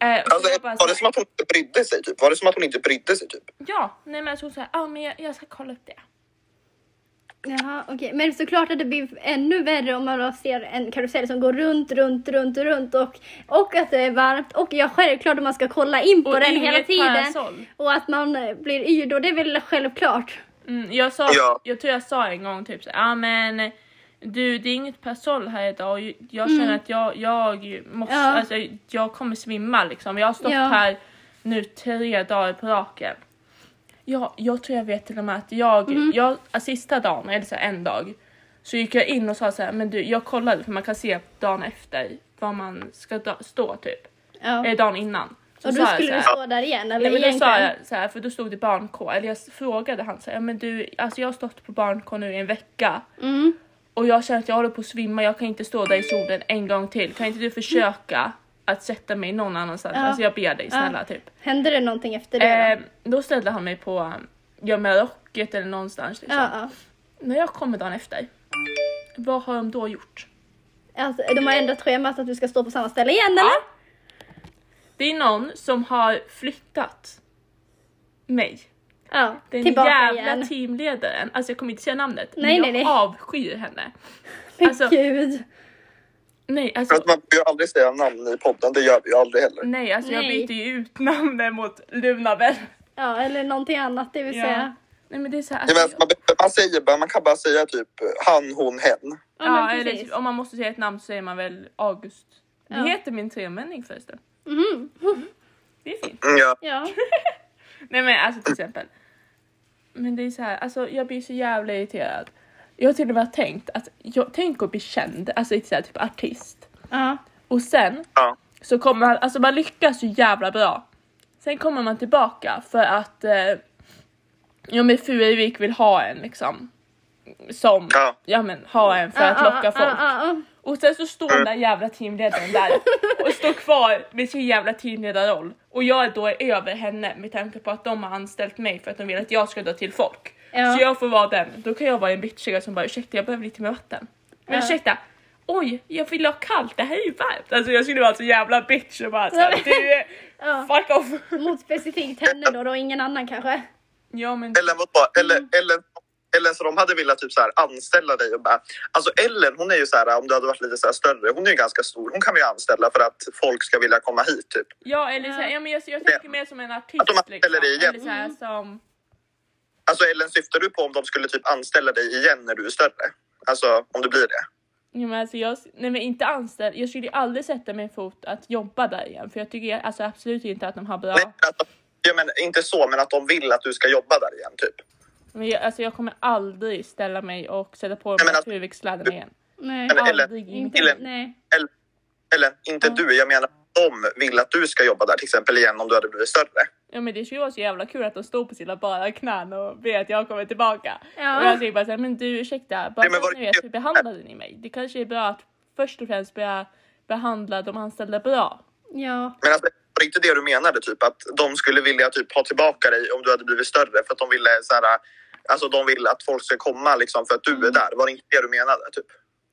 Eh, och så
Alltså,
jag bara
var det
så,
som att hon inte brydde sig? Typ? Var det som att hon inte brydde sig? Typ?
ja, nej men så hon sa ah, men jag, jag ska kolla upp det.
Jaha, okej. Men såklart att det blir ännu värre om man då ser en karusell som går runt, runt, runt, runt och, och att det är varmt och ja, självklart att man ska kolla in på
Och
den
inget
hela tiden.
parasoll.
Och att man eh, blir yr då, det är väl självklart.
Mm, jag, sa,
Ja.
jag tror jag sa en gång typ så ah, men du det är inget parasoll här idag och jag känner att jag, jag måste,
Mm. Ja.
alltså, jag kommer svimma liksom. Jag har stått
Ja.
här nu tre dagar på raken. Ja, jag tror jag vet till och med att jag,
Mm.
jag alltså, sista dagen, eller så här, en dag, så gick jag in och sa så här, men du jag kollade för man kan se dagen efter var man ska da- stå typ.
Ja.
Eller dagen innan. Så
Och
sa
då
jag
skulle
så
du
här,
stå där igen eller
Nej, men då sa
egentligen?
jag så här, för då stod det barnkå, eller jag frågade han så här, men du, alltså jag har stått på barnkå nu i en vecka
Mm.
och jag känner att jag håller på att svimma, jag kan inte stå där i solen en gång till. Kan inte du försöka att sätta mig någon annanstans?
Ja.
Alltså jag ber dig snälla typ.
Hände det någonting efter det? då?
Eh, då ställde han mig på, um, ja med rocket eller någonstans liksom.
Ja, ja.
När jag kommer dagen efter, vad har de då gjort?
Alltså, de har ändrat schemat att du ska stå på samma ställe igen eller?
Ja. Det är någon som har flyttat mig.
Ja,
Den
tillbaka
jävla
igen.
teamledaren, alltså jag kommer inte säga namnet,
Nej,
men jag
nej, nej.
avskyr henne.
Men
alltså-
gud.
Nej,
För att
alltså,
man får ju aldrig säga namn i podden. Det gör vi ju aldrig heller.
nej, alltså jag
Nej.
byter ju ut namnen mot Lunabell.
Ja, eller någonting annat det vill
Ja.
säga.
Nej men det är så här,
Ja,
alltså,
men man, behöver- man, säger, bara- man kan bara säga typ han, hon, hen.
Ja,
ja,
men
eller
precis.
typ, om man måste säga ett namn så säger man väl August. Det
Ja.
heter min tremänning förresten.
Mhm.
Det är fint.
Mm, Ja.
*laughs*
Ja.
Nej men alltså till exempel. Men det är så här, alltså jag blir så jävla irriterad. Jag har till och med tänkt att, jag, tänk att bli känd, alltså inte så här, typ artist.
ja.
Och sen
Ja.
så kommer man, alltså man lyckas ju jävla bra. Sen kommer man tillbaka för att eh, ja men Furuvik vill ha en liksom. Som,
Ja.
ja men ha en för att
Ja,
locka
ja,
folk.
ja, ja.
Och sen så står den där jävla teamledaren där och står kvar med sin jävla teamledarroll. Och jag är då över henne med tanke på att de har anställt mig för att de vill att jag ska dra till folk.
Ja.
Så jag får vara den. Då kan jag vara en bitchiga som bara ursäkta jag behöver lite mer vatten. Men
Ja.
ursäkta, oj jag vill ha kallt, det här är ju varmt. Alltså jag skulle vara så jävla bitch och bara såhär,
Ja, men-
du är-
*laughs* Ja.
fuck off.
Mot specifikt henne då, då, och ingen annan kanske.
Ja men
Ellen, var bara, Ellen, Ellen, Ellen så de hade velat typ så här anställa dig och bara... Alltså Ellen, hon är ju så här, om du hade varit lite så här större, hon är ju ganska stor. Hon kan vi ju anställa för att folk ska vilja komma hit typ.
ja eller såhär,
Ja. Mm.
ja men jag, jag tänker mer som en artist
Att de anställer
liksom.
dig igen.
Eller såhär som,
Alltså Ellen, syftar du på om de skulle typ anställa dig igen när du är större? Alltså om du blir det?
ja, men alltså jag, nej men inte anställd, jag skulle ju aldrig sätta min fot att jobba där igen för jag tycker alltså absolut inte att de har bra,
Nej, men att, ja, men inte så, men att de vill att du ska jobba där igen typ.
men jag, alltså jag kommer aldrig ställa mig och sätta på
Nej, men alltså-
naturvigsladdarna igen.
Nej.
Men Ellen,
Aldrig inte.
Inte,
Ellen.
nej.
Eller, eller inte du, jag menar de vill att du ska jobba där till exempel igen om du hade blivit större.
Ja men det skulle vara så jävla kul att de står på sina bara knän och ber att jag kommer tillbaka.
Ja.
Och jag säger bara såhär, men du ursäkta, bara
Nej, men
så att
var-
ni vet hur behandlade ni mig? Det kanske är bra att först och främst börja behandla de anställda bra.
Ja.
Men alltså, var det inte det du menade? Typ att de skulle vilja typ ha tillbaka dig om du hade blivit större för att de ville så här, alltså de vill att folk ska komma liksom för att du är där. Var det inte det du menade? Typ?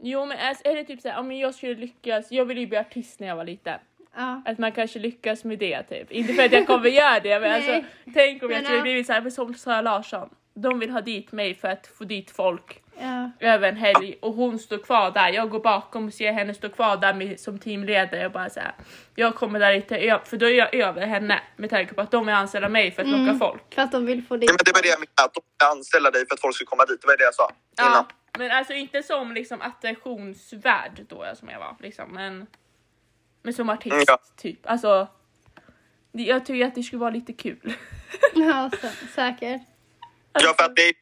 Jo men alltså, är det typ såhär, ja men jag skulle lyckas, jag ville ju bli artist när jag var liten.
ja.
Att man kanske lyckas med det typ. Inte för att jag kommer göra det men
Nej.
alltså tänk om jag
Men,
skulle
ja.
blivit såhär, som Sara Larsson. De vill ha dit mig för att få dit folk
ja.
över en helg och hon står kvar där. Jag går bakom och ser henne stå kvar där med, som teamledare och bara så här. Jag kommer där lite ö- för då är jag över henne med tanke på att de är anställda av mig för att locka folk.
För att de vill få
Nej,
dit.
men det var det jag menade, att de ville anställa dig för att folk skulle komma dit. Det var det jag sa innan.
Ja, men alltså inte som liksom attraktionsvärd då jag- som jag var liksom, men, men som artist
Mm, ja.
typ. Alltså, det- jag tycker att det skulle vara lite kul. *laughs*
Ja, sä- säkert.
Ja, för att det är,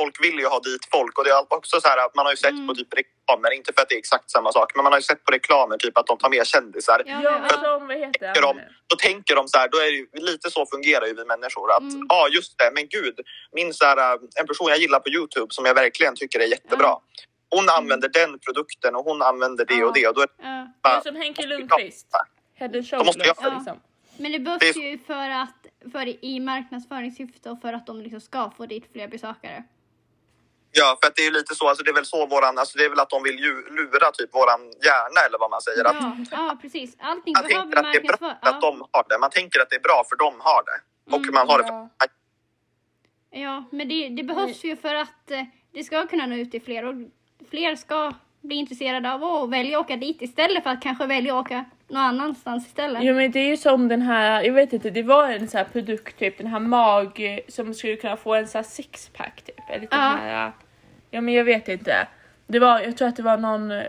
folk vill ju ha dit folk och det är också så här att man har ju sett på typ reklamer, inte för att det är exakt samma sak, men man har ju sett på reklamer typ att de tar med kändisar.
Ja,
ja, men
ja.
som, vad heter
tänker
han
de,
nu?
då tänker de så här, då är det ju, lite så fungerar ju vi människor att ja ah, just det, men gud, min så här, äh, en person jag gillar på Youtube som jag verkligen tycker är jättebra. Hon använder den produkten och hon använder det
Ja.
och det och då är det
Ja.
Ja,
bara,
Som Henke Lundqvist. Head and shoulders
måste jag-
liksom.
Men det
Det
behövs
är-
ju för att, för i marknadsföringssyfte och för att de liksom ska få dit fler besökare.
ja för att det är ju lite så, alltså det är väl så våran, alltså det är väl att de vill ju lura typ våran hjärna eller vad man säger. Att
Ja, ja precis. Allting
man
behöver
tänker Alltså, att det är bra
marknadsföras.
för att
Ja.
de har det, man tänker att det är bra för de har det. Och man har det för
ja.
ja, men det, det behövs ju för att eh, det ska kunna nå ut till fler och fler ska bli intresserade av att välja att åka dit istället för att kanske välja att åka någon annanstans istället.
Jo men det är ju som den här, jag vet inte, det var en sån här produkt typ, den här mag som skulle kunna få en sån här sixpack typ. Eller den
Ja.
här, ja men jag vet inte. Det var, jag tror att det var någon eh,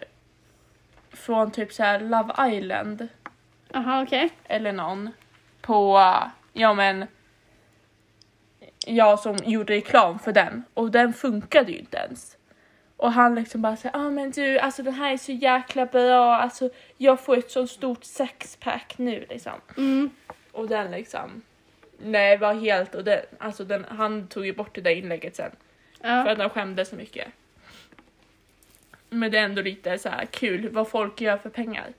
från typ så här Love Island
Jaha, okej.
eller någon på, eh, ja men, jag som gjorde reklam för den och den funkade ju inte ens. Och han liksom bara säger, ah, men du alltså den här är så jäkla bra, alltså jag får ett så stort sexpack nu liksom.
Mm.
Och den liksom. Nej, var helt och den, alltså den, han tog ju bort det där inlägget sen. För
Ja.
att han skämdes så mycket. Men det är ändå lite så här kul vad folk gör för pengar.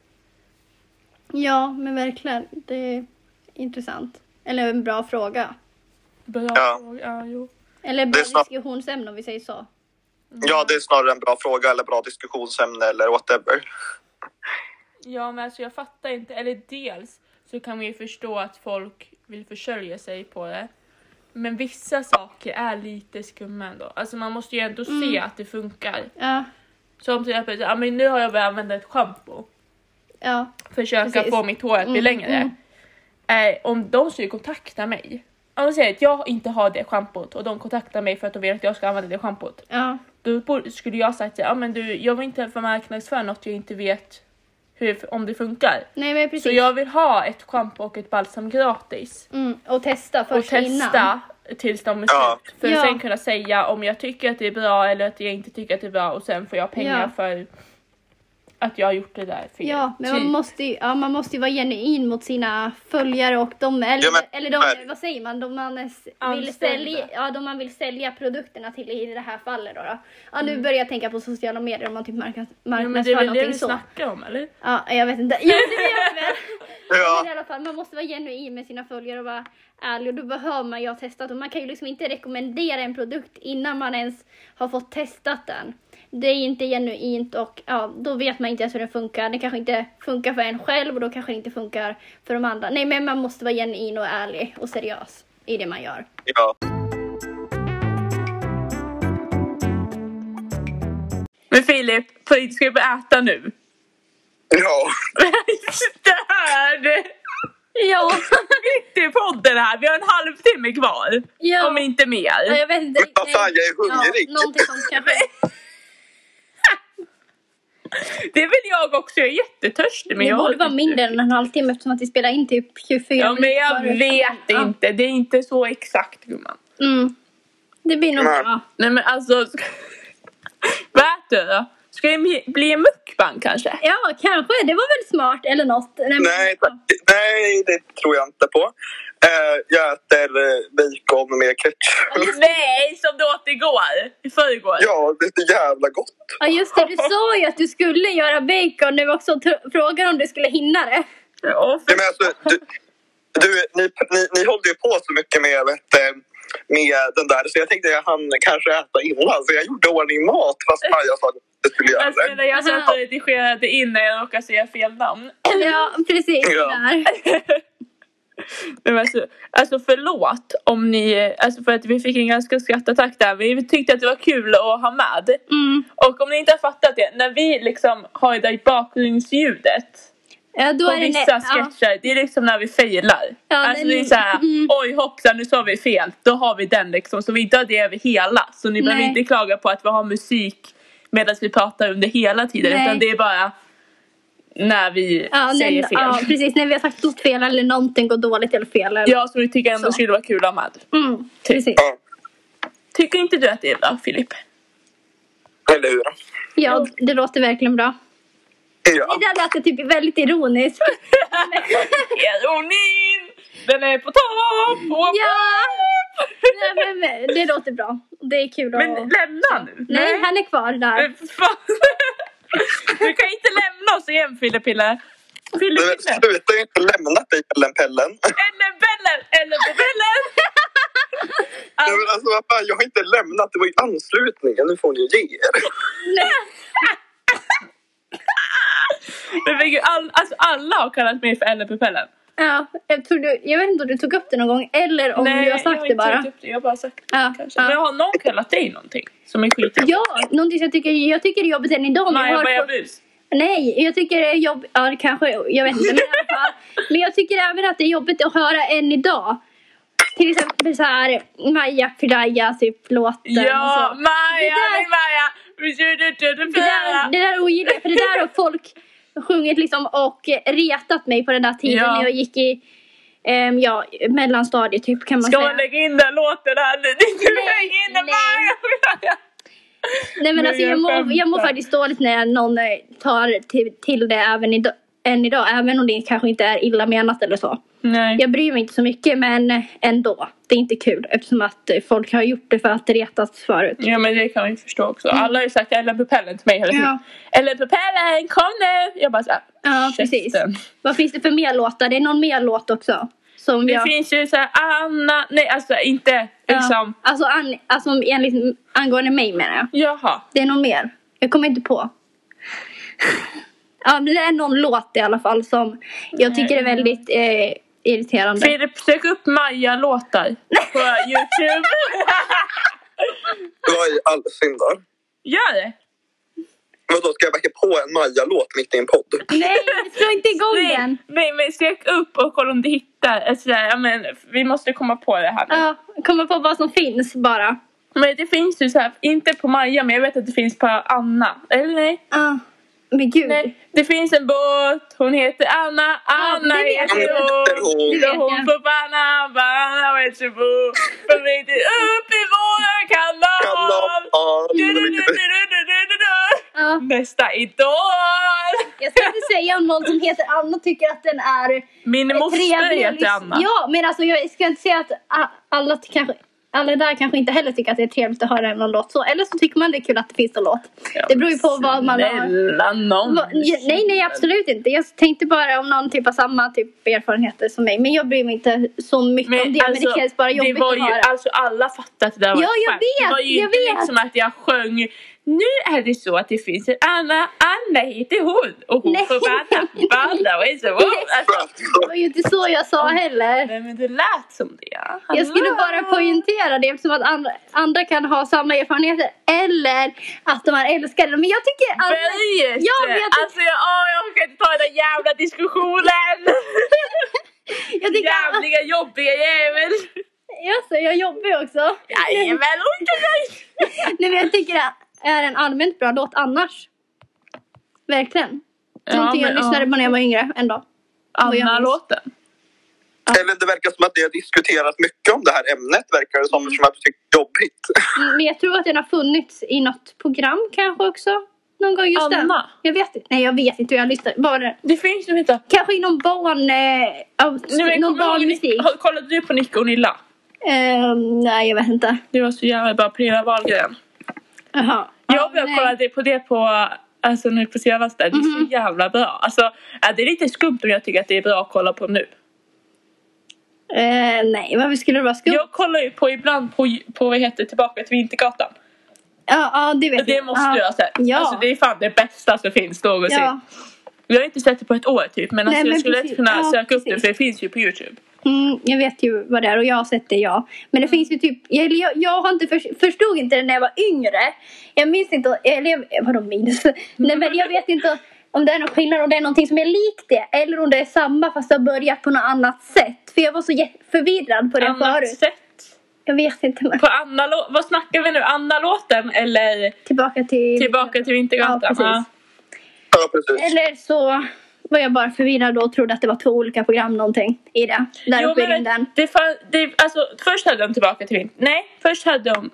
ja, men verkligen. Det är intressant. Eller en bra fråga.
Bra
Ja.
fråga, ja, jo.
Eller bra
är snabbt.
diskussionsämne om vi säger så.
Ja, det är snarare en bra fråga eller bra diskussionsämne eller whatever.
ja, men alltså jag fattar inte. Eller dels så kan man ju förstå att folk vill försörja sig på det. Men vissa saker är lite skumma ändå. Alltså man måste ju ändå se att det funkar.
Ja,
Som till exempel, ja men nu har jag börjat använda ett schampo.
ja,
försöka
Precis.
få mitt hår att bli längre. Eh, om de skulle kontakta mig, om de säger att jag inte har det schampot och de kontaktar mig för att de vill att jag ska använda det schampot.
ja.
Då borde- skulle jag sagt ja men du, jag vill inte marknadsföra något jag inte vet hur, om det funkar.
Nej men precis.
Så jag vill ha ett schampo och ett balsam gratis.
Mm, och testa
och
först
testa
innan.
tills de är
Ja.
slut. För
Ja.
att sen kunna säga om jag tycker att det är bra eller att jag inte tycker att det är bra och sen får jag pengar
Ja.
för att jag har gjort det där fel.
Ja, men
typ.
man måste, ju, ja, man måste ju vara genuin mot sina följare och de, eller,
Ja, men-
eller de, vad säger man, de man, s- vill
Anställda.
sälja, ja, de man vill sälja produkterna till i det här fallet då. då. Ja, nu börjar jag tänka på sociala medier om man typ marknads,
Mm. ja, men det är
marknadsför
väl det vi
någonting så.
snackar om eller?
Ja, jag vet inte. Jo, det gör det väl. Men i
Ja,
alla fall, man måste vara genuin med sina följare och vara ärlig och då behöver man ju ha testat och man kan ju liksom inte rekommendera en produkt innan man ens har fått testat den. Det är inte genuint och ja, då vet man inte ens hur den funkar. Den kanske inte funkar för en själv och då kanske den inte funkar för de andra. Nej, men man måste vara genuin och ärlig och seriös i det man gör.
ja.
Men Filip, Filip, ska vi börja äta nu? *laughs*
ja.
Störd!
Ja,
Mitt i podden här, vi har en halvtimme kvar.
Ja.
Om inte mer.
jag vet inte.
Vad fan, jag är hungrig.
Ja, någonting sånt kanske.
Det är väl jag också, jag är jättetörstig. Men
Det
jag
borde vara mindre än en halvtimme eftersom att vi spelar in typ 24
Ja men jag
minuter.
vet
Ja.
inte, det är inte så exakt gumman.
Mm. Det blir nog
Nej.
bra.
Nej men alltså, *laughs* ska... vad äter du då? Ska det bli- bli en mukbang kanske?
Ja, kanske. Det var väl smart eller något. Nej, men- alltså.
Nej,
Mm.
tack. nej, det tror jag inte på. Eh, jag äter eh, bacon med ketchup.
Nej, som du åt igår! I förrgår.
Ja, det är så jävla gott.
Ja, just det. Du sa ju att du skulle göra bacon nu också. Tr- Frågar om du skulle hinna det.
Ja, för...
Nej, men alltså, du, du, ni, ni, ni håller ju på så mycket med, vet, du, med den där så jag tänkte jag hann kanske äta innan så jag gjorde i ordning mat fast Maja sa att jag skulle göra
Men snälla,
det.
alltså, jag satt och redigerade in när jag råkade säga fel namn.
Ja, precis.
Ja.
Där.
*clears throat* Men alltså, alltså förlåt om ni, alltså för att vi fick en ganska skrattattack där. Vi tyckte att det var kul att ha med.
Mm.
Och om ni inte har fattat det, när vi liksom har det där bakgrundsljudet
Ja, då
på
är det
vissa
nä- ja.
sketcher, det är liksom när vi failar.
Ja,
alltså
men-
det är såhär,
mm.
oj hoppsan nu sa vi fel. Då har vi den liksom, så vi inte har det över hela. Så ni behöver
Nej.
inte klaga på att vi har musik medan vi pratar under hela tiden.
Nej.
Utan det är bara när vi
Ja,
säger
när,
fel.
ja, precis. När vi har sagt något fel eller någonting går dåligt eller fel.
*laughs*
Eller.
Ja, så vi tycker ändå
Så.
skulle vara kul att ha med.
Mm, precis.
Ja,
Tycker inte du att det är bra,
*laughs*
Filip?
eller hur?
Ja, det låter verkligen bra.
Ja.
Det där lät det typ väldigt
*laughs*
ironiskt.
Ironin! Den är på topp! Och-
Ja! Nej, men, det låter bra. Det är kul att...
Men lämna nu!
Nej, han är kvar där.
Men fan. Du kan inte lämna oss igen, Filipille!
Men
Filipille!
Sluta ju inte lämna dig, Ellen Pellen.
Eller Bellen! Eller Bellen!
Nej, men alltså, vad fan, jag har inte lämnat, det var ju anslutningen. Nu får ni ge er.
Men men gud, all, alltså alla har kallat mig för Eller Pellen.
Ja, jag, tror du, jag vet inte om du tog upp det någon gång eller om du har sagt det bara.
Upp det. Jag har bara sagt det
Ja,
kanske.
ja.
Men har någon kallat dig någonting som är skitjobbigt?
Ja, någonting som jag tycker, jag tycker det är jobbigt än idag. men
Nej,
jag har
jag börjar
fått-
bus.
Nej, jag tycker det är jobbigt, ja det kanske, jag vet inte. Men, i
*laughs*
alla fall. men jag tycker även att det är jobbigt att höra än idag. Till exempel så här Maja Piraya typ låten
Ja,
och så.
Maja,
Det där-
min Maja! Vi kör du till
Det där, det där ogillar jag, för det där har folk sjungit liksom och retat mig på den där tiden
Ja.
när jag gick i ehm, ja, mellanstadiet typ kan man
Ska
säga.
man lägga in den låten här nu?
Nej,
Lägg in den,
nej.
Maja, Maja!
Nej men
Nej,
alltså jag
jag
mår, jag mår
skämtar.
faktiskt dåligt när någon eh, tar till, till det även idag, än idag. Även om det kanske inte är illa menat eller så.
Nej.
Jag bryr mig inte så mycket men eh, ändå. Det är inte kul eftersom att eh, folk har gjort det för att retas förut.
Ja men det kan vi förstå också. Alla har ju sagt Ellen Pupellen till mig hela tiden.
Mm. Ja.
Ellen Pupellen kom nu! Jag bara såhär.
Ja precis.
käften.
Vad finns det för mer låtar? Det är någon mer låt också. Som
Det
jag...
finns ju såhär Anna, nej alltså inte
Ja.
liksom.
Alltså, an, alltså enligt, angående mig menar jag.
Jaha.
Det är någon mer. Jag kommer inte på. Ja men det är någon låt i alla fall som jag tycker är väldigt eh, irriterande.
Filip sök upp Maja-låtar på
*laughs*
youtube.
Vad i all sin dar?
Gör det!
Vadå, ska jag backa på en Maja-låt mitt i en podd?
Nej, slå inte igång den.
Nej, nej men sök upp och kolla om du hittar. Alltså, såhär, ja, men, vi måste komma på det här nu.
Ja, komma på vad som finns bara.
Men det finns ju så här, inte på Maja men jag vet att det finns på Anna. Eller nej?
Ja. Men gud.
nej. Det finns en båt, hon heter Anna, Anna
det vet
heter
jag.
hon.
Det
vet
Och hon
jag.
på Banna, Banna vet jag bo. För vi är upp i vår kanal.
Kanal.
Du, du, du, du, du, du, du, du.
Ja.
Nästa idol!
Jag ska inte säga om någon som heter Anna tycker att den är
Min moster heter Anna.
Ja, men alltså jag ska inte säga att a- alla t- kanske alla där kanske inte heller tycker att det är trevligt att höra någon låt så. Eller så tycker man det är kul att det finns en låt. det beror ju på vad man har.
Snälla nån.
vad- Nej, nej absolut inte. Jag tänkte bara om någon typ har samma typ erfarenheter som mig. Men jag bryr mig inte så mycket om det. men alltså, det känns bara
Alltså, det
jobbigt
var
att
ju,
höra.
alltså alla fattade att det där var
Ja,
ett
jag
skämt. Det
vet,
var ju
jag
inte
vet.
liksom att jag sjöng Nu är det så att det finns en Anna, Anna heter hon och hon
Nej,
får bara
nej, nej.
tappa och så alltså,
Det var ju inte så jag sa heller.
Nej men det lät som det.
Jag skulle bara
Hallå.
poängtera det eftersom att andra, andra kan ha samma erfarenheter eller att de är älskade. Men jag tycker att...
Berget!
Alltså, Jag vet inte.
Alltså jag, åh, jag orkar inte ta den där jävla diskussionen!
Jag tycker att...
Jävliga jobbiga jävel!
Jaså, jag jobbar också.
Jajamän, orkar jag!
Nej men jag tycker att det är en allmänt bra låt annars. Verkligen. Någonting jag lyssnade på när jag var yngre en dag. vad jag minns.
Anna-låten.
Eller det verkar som att ni har diskuterat mycket om det här ämnet verkar det som, som att du tycker det är jobbigt.
Mm, Men jag tror att den har funnits i något program kanske också. Någon gång just den.
Anna.
Jag vet inte. Nej jag vet inte hur jag lyssnar. Bara
Det finns nog inte.
Kanske i någon barn... Eh, out,
Nej, men kommer
någon
du ihåg *laughs*
barnmusik.
Nick- har- Kollade du på Nick och Nilla?
Ehm, nej jag vet inte.
Det var så jävla bra. Pernilla Wahlgren.
Jaha.
Jag började
nej. Mhm.
kolla det- på det på Alltså nu på senaste, det är så jävla bra. Alltså, ja, det är lite skumt om jag tycker att det är bra att kolla på nu.
Eh, nej, varför skulle det vara skumt? Ja,
Jag kollar ju på ibland på, på vad heter det, Tillbaka till Vintergatan.
ja, det vet
Det
jag.
måste
ja.
du ha sett.
Ja.
Alltså, det är fan det bästa som finns någonsin.
Ja.
Jag har inte sett det på ett år typ men,
Nej,
alltså, jag
men
skulle
precis.
kunna
Ja,
söka upp det
precis.
för det finns ju på Youtube.
Mm, jag vet ju vad det är och jag har sett det, ja. Men
Mm.
det finns ju typ... Jag, eller jag, jag har inte förs- förstod inte det när jag var yngre. Jag minns inte... Eller jag, vadå minns?
Mm.
nej, men jag vet inte om det är någon skillnad, om det är någonting som är likt det eller om det är samma fast det har börjat på något annat sätt. För jag var så jä- förvirrad på det
Annat
förut.
sätt.
Jag vet inte. Men.
På Anna, vad snackar vi nu? Anna-låten eller
Tillbaka till...
Tillbaka till Vintergatan?
Ja, precis.
Ja, precis.
Eller så var jag bara förvirrad och trodde att det var två olika program någonting i det. Där
Jo,
uppe i
men
rymden.
det fan, det, alltså, först hade de Tillbaka till Vintergatan. Nej, först hade de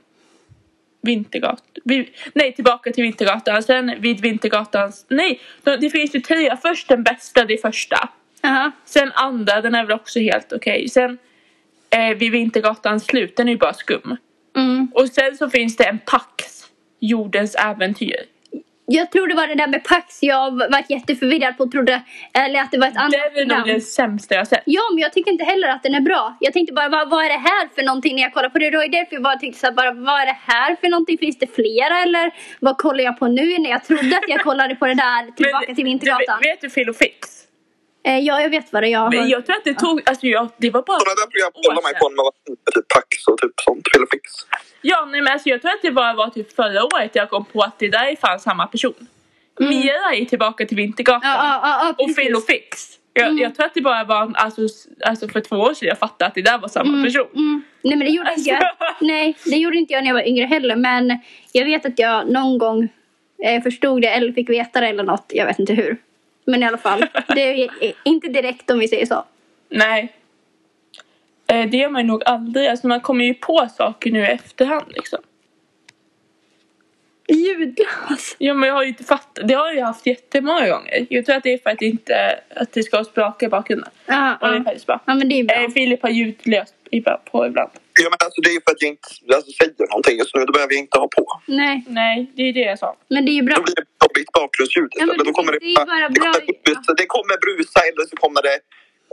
Vintergatan. Vi, nej, Tillbaka till Vintergatan. Sen Vid Vintergatans... Nej, de, det finns ju tre. Först den bästa, det första.
Jaha.
Sen andra, den är väl också helt okej. Sen eh, Vid Vintergatans slut, den är ju bara skum.
Mm.
Och sen så finns det en Pax, Jordens äventyr.
Jag tror det var det där med Pax jag var jätteförvirrad på och trodde, eller att det var ett annat
Den är nog den sämsta jag sett.
Ja, men jag tycker inte heller att den är bra. Jag tänkte bara, vad, vad är det här för någonting när jag kollar på det? Det var ju därför jag bara tänkte så här, bara, vad är det här för någonting? Finns det flera eller vad kollar jag på nu när jag trodde att jag kollade på det där Tillbaka
*laughs* Men
till Vintergatan?
Du, vet du Filofix?
Eh, ja, jag vet vad det är. Jag
Men
har-
jag tror att det tog, alltså jag, det var bara...
Sådana där program kollar man ju på när man var liten, typ Pax och typ sånt, Filofix.
Ja, nej, men alltså jag tror att det bara var typ förra året jag kom på att det där är fan samma person. Mira är tillbaka till Vintergatan.
Mm. Ja, ja, ja, ja,
och
precis. Mm.
Filofix. Jag, jag tror att det bara var, alltså, s- alltså för två år sedan jag fattade att det där var samma person.
Mm. Nej men det gjorde inte jag.
Alltså.
Nej, det gjorde inte jag när jag var yngre heller. Men jag vet att jag någon gång eh, förstod det eller fick veta det eller något. Jag vet inte hur. Men i
*laughs*
alla fall, det är eh, inte direkt om vi säger så.
Nej. Eh, Det gör man ju nog aldrig. Alltså man kommer ju på saker nu i efterhand liksom.
Ljudlös.
Ja men jag har ju inte fattat. Det har jag ju haft jättemånga gånger. Jag tror att det är för att det inte att det ska spraka i bakgrunden.
Ja,
Och det är
ja.
faktiskt bra.
ja men det är bra.
Eh, Filip har ljudlöst ibland, på ibland.
Ja, men alltså, det är ju för att jag inte alltså, säger någonting just nu, då behöver jag inte ha på.
Nej,
Nej, det är ju det jag sa.
men det är ju bra.
Då blir det jobbigt bakgrundsljud
Ja, men
istället. Då kommer det,
precis, det är bara
det, kommer
bra-
brusa, det kommer brusa eller så kommer det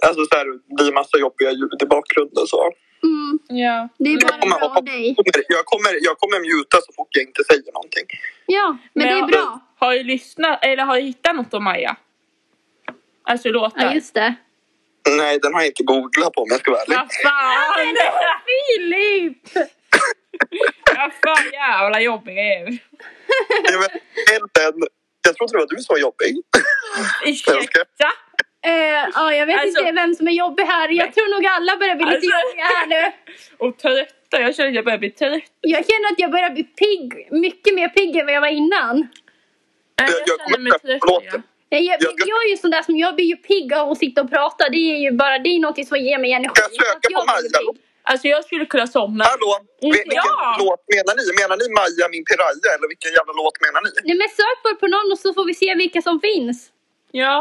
alltså, så här, bli massa jobbiga ljud i bakgrunden. Så.
Mm,
Ja.
det är
Men-
bara bra av dig.
Jag kommer, jag kommer, jag kommer muta så fort jag inte säger någonting.
Ja, men det är
jag-
bra.
Har du lyssnat eller har du hittat något om Maja? Alltså låtar.
Ja, just det.
Nej, den har jag inte googlat på om jag ska vara ärlig.
Vad fan!
Filip!
Vad fan jävla jobbig jag är.
Jag, vet, den, jag trodde det var du som var jobbig.
Ursäkta?
Eh, Ja, jag vet
Alltså-
inte vem som är jobbig här. Jag tror nog alla börjar bli lite
Alltså-
jobbiga här nu.
Och trötta. Jag känner att jag börjar bli trött.
Jag känner att jag börjar bli pigg, mycket mer pigg än vad jag var innan.
Nej,
Jag- jag
jag känner mig
kommer-
trött.
förlåt.
igen.
Jag, jag,
Jag-
jag är ju sån där som jag blir ju pigg av att sitta och prata. Det är ju bara det är någonting som ger mig energi.
Ska jag söka
Att jag
på
blir
Maja?
pigg.
Alltså jag skulle kunna somna.
Hallå! vi- Vilken
Ja.
låt menar ni? Menar ni Maja min piraya eller vilken jävla låt menar ni?
Nej men sök bara på någon och så får vi se vilka som finns.
Ja.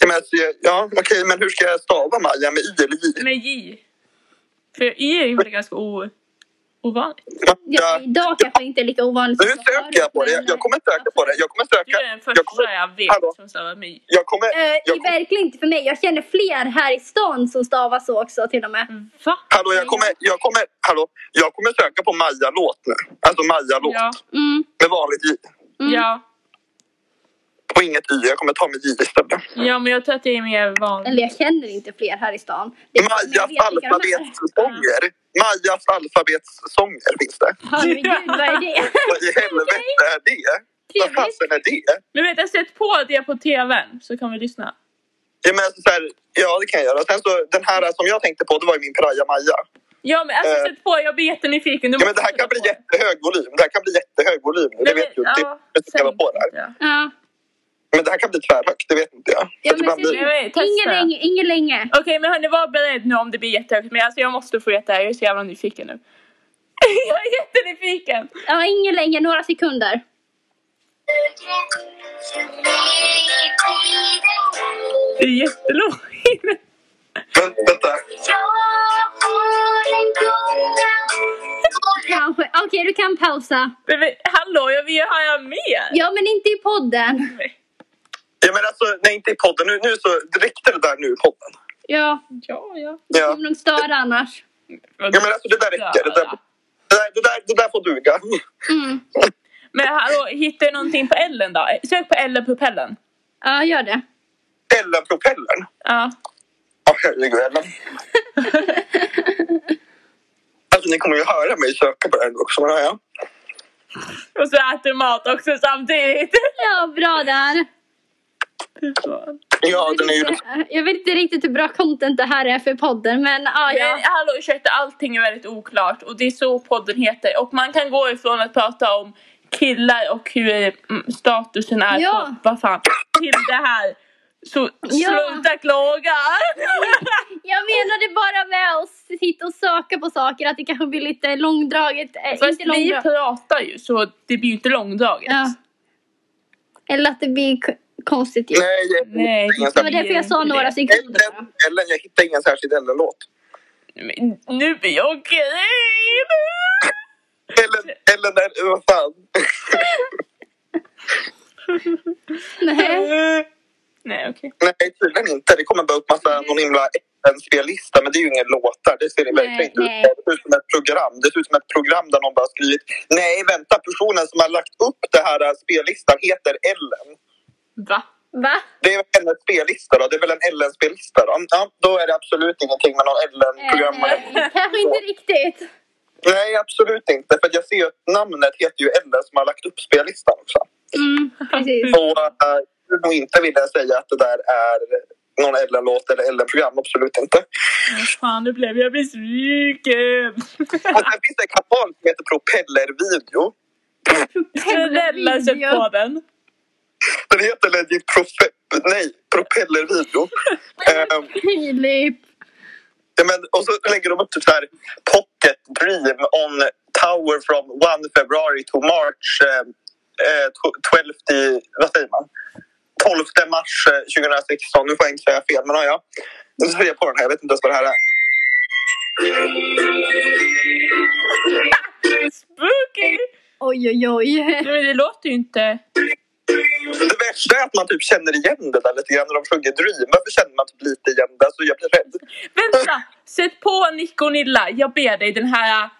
Jag menar, ja, okej, men hur ska jag stava Maja? Med i eller j?
Med J. För I är ju väl ganska o, ovanligt.
Ja,
Ja.
idag kanske inte är lika ovanligt
Nu
som det var
söker jag på det.
förut,
Jag,
men-
jag kommer söka på det. Jag kommer
Du
söka.
är den
Jag
första
kommer...
jag
Hallå?
vet som stavar med J.
Jag kommer...
Eh, det
Jag,
är verkligen inte för mig. Jag känner fler här i stan som stavar så också till och med.
Va?
hallå, jag kommer... Jag kommer... Hallå? Jag kommer söka på Maja-låt nu. Alltså Maja-låt.
Ja.
Mm.
Med vanligt j.
Mm.
ja.
Och inget i. Jag kommer ta med j istället.
Ja, men jag tror att det är mer vanligt.
Eller jag känner inte fler här i stan. Det är bara- jag
Majas
vet vilka de är.
alfabetssånger. Majas alfabetssånger finns
*laughs*
det.
Herregud, vad är det?
Vad i helvete är det? *laughs* Vad fasen är det?
Men vet jag sett på det på tvn så kan vi lyssna.
Ja, men alltså så här, ja, det kan jag göra. Sen så, den här som jag tänkte på, det var ju min piraya Maja.
Ja, men alltså
Eh.
sett på. Jag blir jättenyfiken. Du
Ja, men
måste
det här
sätta
kan bli
på.
jättehög volym. Det här kan bli jättehög volym.
Nej,
Det vet
men,
ju inte.
ja,
Jag ska vara
säg
på det här.
inte.
Ja.
Men det här kan bli tvärhögt, det vet inte jag.
Ja,
Att
men
ibland
sen,
blir-
Nej, testa.
ingen länge, ingen länge.
Okej, men hörni, var beredd nu om det blir jättehögt. Men alltså jag måste få veta. Jag är så jävla nyfiken nu. *laughs* jag är jättenyfiken!
Ja, ingen länge, några sekunder.
Det är jättelågt.
Vä- Vänta.
Kanske. Okej, du kan pausa.
Nej, men hallå, jag vill ju höra mer!
Ja, men inte i podden.
Ja, men alltså, nej, inte i podden. Nu, nu så riktar det där nu i podden.
Ja,
Ja, ja.
det
Ja.
kommer nog störa annars.
Ja, men alltså, det där räcker. Det där, det där, det där, det där får duga.
Mm.
Men hallå, hittar du någonting på Ellen då? Sök på Ellen Propellen.
Ja, gör det.
Ellen Propellern.
Ja.
Ja,
*laughs*
herregud, Ellen. Alltså, ni kommer ju höra mig söka på det här nu också. Men, ja.
Och så äter du mat också samtidigt.
Ja, bra där.
Fy fan.
ja, den är ju...
Jag vet inte riktigt hur bra content det här är för podden, men ja,
Men
ja.
hallå ursäkta, allting är väldigt oklart och det är så podden heter. Och man kan gå ifrån att prata om killar och hur mm, statusen är
Ja.
på vad fan, till det här. Så sluta
*laughs*
klaga!
Jag menade bara med att sitta och söka på saker, att det kanske blir lite långdraget. eh,
Fast
inte
vi
långdraget.
pratar ju så det blir ju inte långdraget.
Ja. Eller att det blir k- konstigt. ju.
Nej, jag
Nej,
hittar ingen
Det
det
var
särskild...
blir
därför jag sa
inte
några
det.
sekunder bara.
Ellen, Ellen, jag hittar ingen särskild Ellen-låt.
Men nu blir jag grym!
Ellen, Ellen, är- vad fan.
*laughs*
Nej.
Nej okej.
Nej, tydligen inte. Det kommer bara upp massa någon himla FN-spellista, men det är ju ingen låtar. Det ser det
Nej,
verkligen inte
nej.
ut. Det ser ut som ett program. Det ser ut som ett program där någon bara har skrivit Nej, vänta, personen som har lagt upp det här eh, spellistan heter Ellen.
Va?
Va?
Det är väl hennes spellista då? Det är väl en Ellen-spellista då? Ja, då är det absolut ingenting med någon Ellen-program.
Eh, kanske
*laughs*
inte riktigt.
Nej, absolut inte. För att jag ser ju att namnet heter ju Ellen som har lagt upp spellistan också.
Mm,
*laughs*
precis.
Så eh, jag skulle nog inte vilja säga att det där är någon Ellen-låt eller Ellen-program. Absolut inte.
Vad fan nu blev jag besviken.
Och sen finns Alltså, det en kanal som heter Propellervideo.
Snälla sätt på den.
Den heter legit profe... Nej, Propellervideo. Ehm,
Filip.
ja, men, och så lägger de upp typ så här Pocket Dream on Tower from 1 February to March eh, eh, tw- 12... i- Vad säger man? 12 mars eh, 2016. Nu får jag inte säga fel, men ja, ja. Nu ser jag på den här. Jag vet inte ens vad det här är.
Spooky!
Oj, oj, oj.
Nej men det låter ju inte...
Det värsta är att man typ känner igen det där lite grann när de sjunger Dream. Varför känner man typ lite igen det? Alltså, jag blir rädd.
Vänta! Sätt på Nick och Nilla. Jag ber dig den här... äh,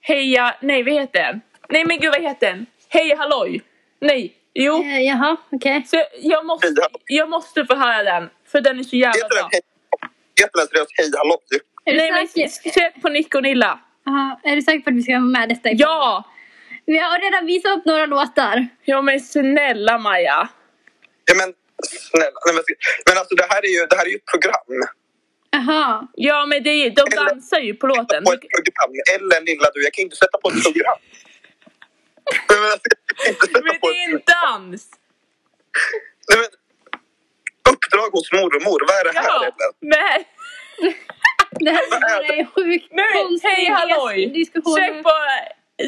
Heja... Nej vad heter den? Nej men gud vad heter den? Heja halloj! Nej. Jo.
Eh, jaha, okej.
Så jag, måste, jag måste få höra den. För den är så jävla
Heter den
bra.
Hej- heter den seriöst Hej hallå?
Är du
Nej men
säker?
sök på Nick och Nilla.
Jaha, är du säker på att vi ska ha med detta? i podden?
Ja!
Vi har redan visat upp några låtar.
Ja men snälla Maja.
Ja, men snälla. Nej, men, men alltså det här är ju, det här är ju ett program.
Jaha.
Ja men det, är- de dansar ju på låten.
På ett program. Eller lilla du, jag kan ju inte sätta på ett program. Men, men, alltså, jag kan inte sätta
Men
på
det
ett,
är en dans!
nej, men, uppdrag hos mormor, vad är det här?
Ja!
eller?
Nej!
Det här är en sjukt
Nej,
konstig
hej halloj!
dis- diskussion.
Sök på,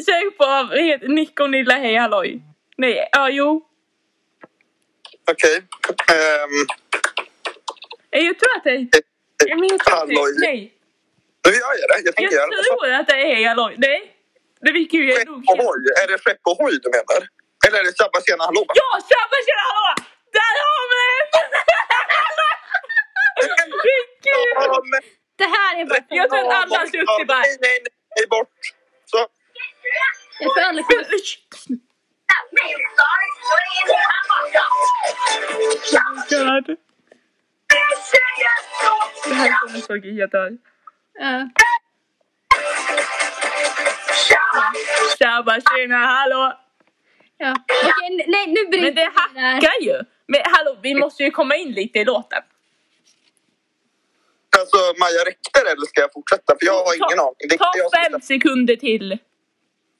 sök på vad heter- Nick och Nilla hej halloj. Nej, ja jo.
Okej. Ehm,
Eh, Jag tror att det är... Jag minns inte.
Halloj.
Nej,
nu gör jag det. Jag
jag
tänker göra det.
tror att det är hej halloj. Nej, det fick ju jag nog.
Skeppohoj. Är det Skeppohoj du menar? Eller är det Tjabba Tjena Hallå?
Ja, tjabba tjena hallå! Där har vi
*laughs*
den! Vilken
Ja, men-
Det här är bara...
Jag tror att alla har suttit bara...
Nej, nej, nej, nej, bort. Så.
Jag tror aldrig
Men, *laughs*
kommer...
usch. God. Det här är en sak jag helt hör.
Ja.
Tjabba tjena hallå!
Ja. Okej, n- nej nu bryter
Men det
vi där.
hackar ju! Men hallå, vi måste ju komma in lite i låten.
Alltså, Maja, räcker det eller ska jag fortsätta? För jag har ingen aning. Det,
Ta
jag,
fem sekunder till.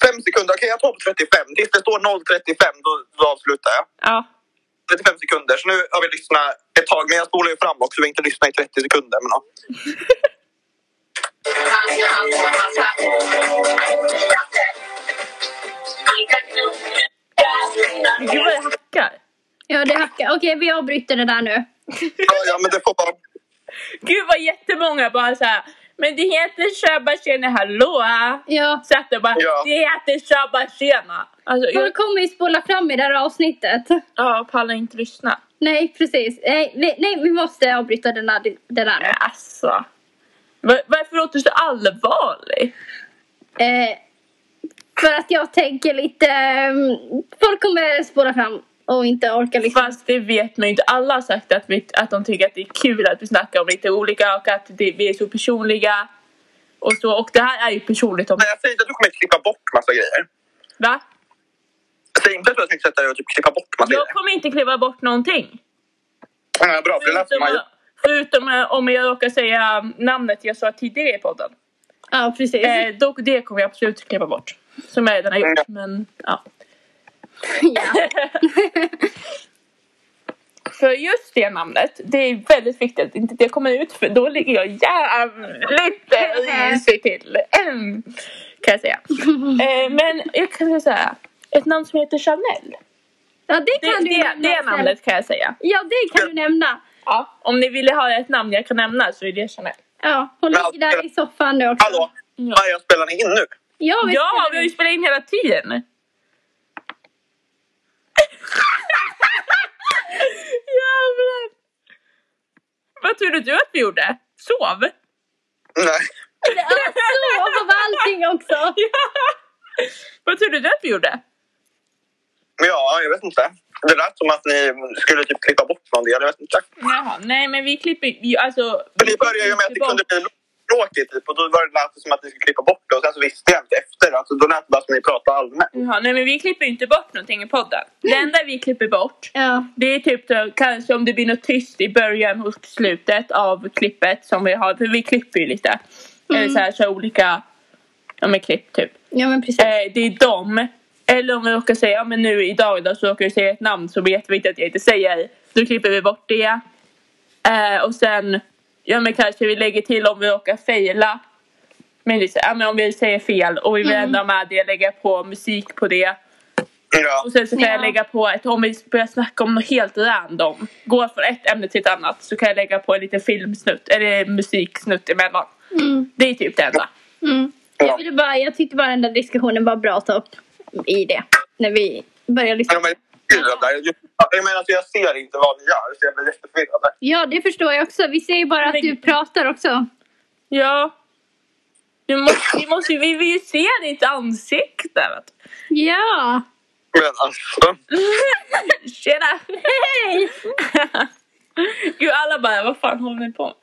fem sekunder. Okej, jag tar på 35. Tills det står 0.35 då, då avslutar jag.
Ja.
35 sekunder. Så nu har vi lyssnat ett tag. Men jag spolar ju fram också. Vi inte lyssna i 30 sekunder. Men, ja.
Gud vad det hackar.
Ja, det hackar. Okej, vi avbryter det där nu.
Ja, ja, men det får vara.
Gud vad jättemånga bara såhär. Men det heter tjabba tjena hallå!
Ja.
Så att det bara,
Ja.
det heter tjabba tjena. Alltså, jag,
Folk kommer ju spola fram i det här avsnittet.
ja, pallar inte lyssna.
Nej, precis. Nej, nej, nej vi måste avbryta den där, det där nu.
Alltså. Va- Varför låter du så allvarlig?
Eh, för att jag tänker lite... ehm, Folk kommer spola fram och inte orka lyssna.
Fast det vet man ju inte. Alla har sagt att, vi, att de tycker att det är kul att vi snackar om lite olika och att det, vi är så personliga. Och, så, och det här är ju personligt om...
Men jag säger inte att du kommer att klippa bort massa grejer.
Va?
Jag säger inte att du tänker sätta dig och typ klippa bort massa
Jag
grejer.
kommer inte kliva bort någonting.
Ja, bra, för det lät som Maja.
Förutom, förutom om jag råkar säga namnet jag sa tidigare i podden.
Ja, precis.
Eh, då, det kommer jag absolut klippa bort. Som jag redan har gjort. Men, ja.
*laughs* Ja.
För just det namnet, det är väldigt viktigt att inte det kommer ut för då ligger jag *laughs* jävligt risigt till. Mm, Kan jag säga. Eh, men jag kan säga så här, ett namn som heter Chanel.
ja, det
Det,
kan du
det,
nämna
det
sen.
namnet kan jag säga.
Ja, det kan du nämna.
Ja. Om ni ville ha ett namn jag kan nämna så är det Chanel.
Ja, hon
Men-
ligger där i soffan nu också.
eh, Hallå? Maja, spelar ni in nu?
Ja, vi
Ja, vi har ju
vi...
spelat in hela *laughs* tiden! Jävlar! Vad trodde du att vi gjorde? Sov?
Nej.
Så, och på allting också.
*laughs* Vad trodde du att vi gjorde?
Ja, jag vet inte. Det lät som att ni skulle typ klippa bort någon del. Jag vet inte.
Jaha, nej men vi klipper ju alltså...
För ni började ju med att det kunde bli tråkigt typ, och då var det lät det som att ni skulle klippa bort det och sen så visste jag inte efter. Alltså, då lät det bara som att ni pratade allmänt.
Jaha, nej men vi klipper ju inte bort någonting i podden. Det enda vi klipper bort
Ja.
det är typ då, kanske om det blir något tyst i början och slutet av klippet som vi har, för vi klipper ju lite. Eller så här så olika, ja men klipp typ.
ja, men precis.
eh, det är dem. Eller om vi råkar säga, ja, men nu idag då så råkar vi säga ett namn som är jätteviktigt att jag inte säger. Då klipper vi bort det. Eh, och sen, ja men kanske vi lägger till om vi råkar fejla. Men, det är så, ja, men om vi säger fel och vi vill ändra med det, lägga på musik på det.
Ja.
Och sen så kan jag
Ja.
lägga på, ett, om vi börjar snacka om något helt random, går från ett ämne till ett annat så kan jag lägga på en liten filmsnutt, eller musiksnutt emellan.
Mm.
Det är typ det enda.
Mm. Jag, ville bara, jag tyckte bara den där diskussionen var bra att ta upp i det. När vi började lyssna.
Ja, men Jag är förvirrad där. Jag menar, alltså, jag ser inte vad ni gör så jag blir jätteförvirrad. där.
Ja, det förstår jag också. Vi ser ju bara att
Men-
du pratar också.
Ja. Du måste, vi, måste, vi vill ju se ditt ansikte. vet du. *laughs*
Ja!
Men alltså...
Tjena!
Hej!
Gud, alla bara, vad fan håller ni på med?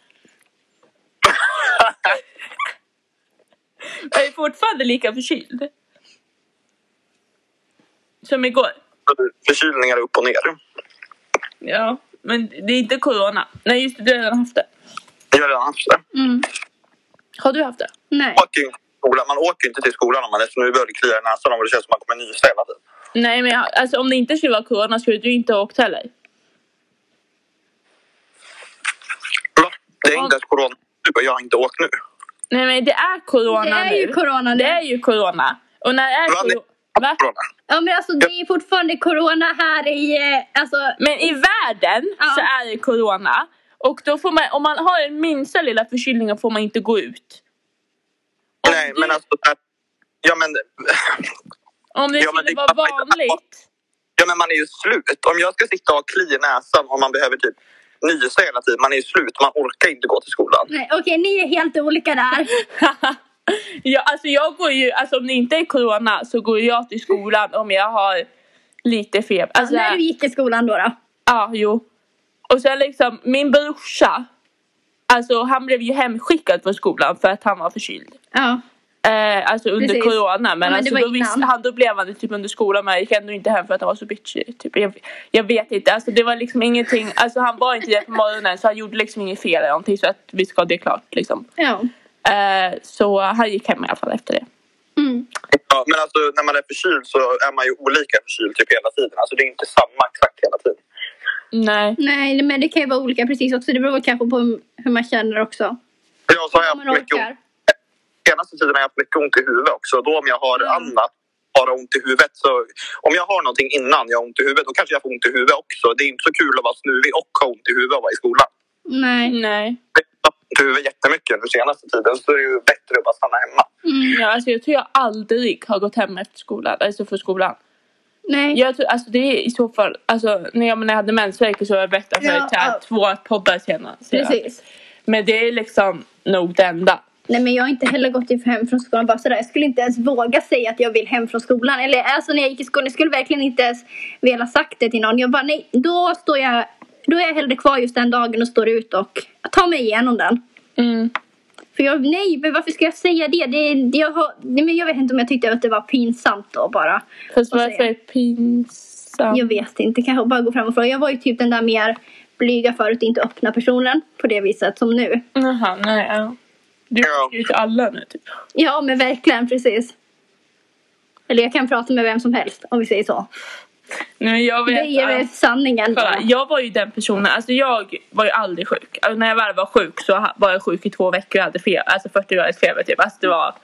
Jag är fortfarande lika förkyld. Som igår.
Förkylningar upp och ner.
Ja, men det är inte corona. Nej, just det, du har redan haft det.
Jag har redan haft det.
Mm.
Har du haft det?
Nej.
Man åker ju inte till skolan- Man åker ju inte till skolan om man är nu börjar det klia i näsan och det känns som att man kommer nysa hela tiden.
Nej, men jag, alltså, om det inte skulle vara corona skulle du inte ha åkt heller.
Va? Det är inte ens corona. du och jag har inte åkt nu.
Nej men det är corona
Det är ju
nu.
corona nu.
Det är ju corona. Och när är
Va,
corona? Va?
Corona.
Ja men alltså det är fortfarande corona här i, eh, alltså
Men i världen
Ja.
så är det corona. Och då får man, om man har en minsta lilla förkylning då får man inte gå ut. Om
Nej,
du-
men alltså... där- Ja men,
Om det
Ja, men
skulle
det
vara
är klart man inte har.
vanligt. *laughs*
ja, men man är ju slut. Om jag ska sitta och ha kli i näsan och man behöver typ nysa hela tiden, man är ju slut. Man orkar inte gå till skolan.
nej okej ni är helt olika där.
ja, alltså jag går ju, alltså om det inte är corona så går jag till skolan om jag har lite feber. *laughs* Alltså,
När du
ja,
gick i skolan då då?
jo. Och sen liksom min brorsa, alltså han blev ju hemskickad från skolan för att han var förkyld.
Ja.
Eh, alltså under
Precis.
corona men,
men det
alltså,
var
då,
innan.
visste han, då blev han det typ under skolan men gick ändå inte hem för att han var så bitchig. Typ. Jag, jag vet inte, alltså det var liksom ingenting, alltså han var inte där på morgonen så han gjorde liksom inget fel eller någonting så att vi ska ha det klart liksom.
Ja.
Eh, så han gick hem i alla fall efter det.
Mm.
Ja, men alltså när man är förkyld så är man ju olika förkyld typ hela tiden. Alltså det är inte samma exakt hela tiden.
Nej.
Nej men det kan ju vara olika precis också. Det beror kanske på hur- hur man känner också.
Jag så har jag
Om man
haft mycket ont.
orkar.
Senaste tiden har jag haft mycket ont i huvudet också. Då om jag har
Mm.
annat, bara ont i huvudet. Så om jag har någonting innan jag har ont i huvudet, då kanske jag får ont i huvudet också. Det är inte så kul att vara snuvig och ha ont i huvudet och vara i skolan.
Nej.
Nej.
Jag har haft ont i huvudet jättemycket nu senaste tiden. Så är det ju bättre att bara stanna hemma.
Mm.
Ja, alltså jag tror jag aldrig har gått hem efter skolan, alltså för skolan.
Nej.
Jag tror, alltså det är i så fall, alltså när jag, när jag hade mensvärk och så var jag bättre för
Ja,
så här
ja.
två poddar senare. så jag-
Precis.
Men det är liksom nog det enda.
Nej men jag har inte heller gått typ hem från skolan bara sådär. Jag skulle inte ens våga säga att jag vill hem från skolan. Eller alltså när jag gick i skolan, jag skulle verkligen inte ens vilja sagt det till någon. Jag bara nej, då står jag, då är jag hellre kvar just den dagen och står ut och tar mig igenom den.
Mm.
För jag, nej men varför ska jag säga det? det, det jag, har, nej, men jag vet inte om jag tyckte att det var pinsamt då bara.
Fast
Och så är-
varför är det pinsamt?
Jag vet inte, kanske bara gå fram och fråga. Jag var ju typ den där mer blyga förut, inte öppna personen på det viset som nu.
Jaha, nej. Ja. Du
Ja.
åker ju till alla nu typ.
Ja, men verkligen, precis. Eller jag kan prata med vem som helst, om vi säger så.
Nej, jag vet,
Det är väl
alltså,
sanningen.
kolla,
bara.
jag var ju den personen, alltså jag var ju aldrig sjuk. Alltså, när jag väl var sjuk så ha- var jag sjuk i två veckor och hade feber, alltså 40 graders feber typ. Alltså det var,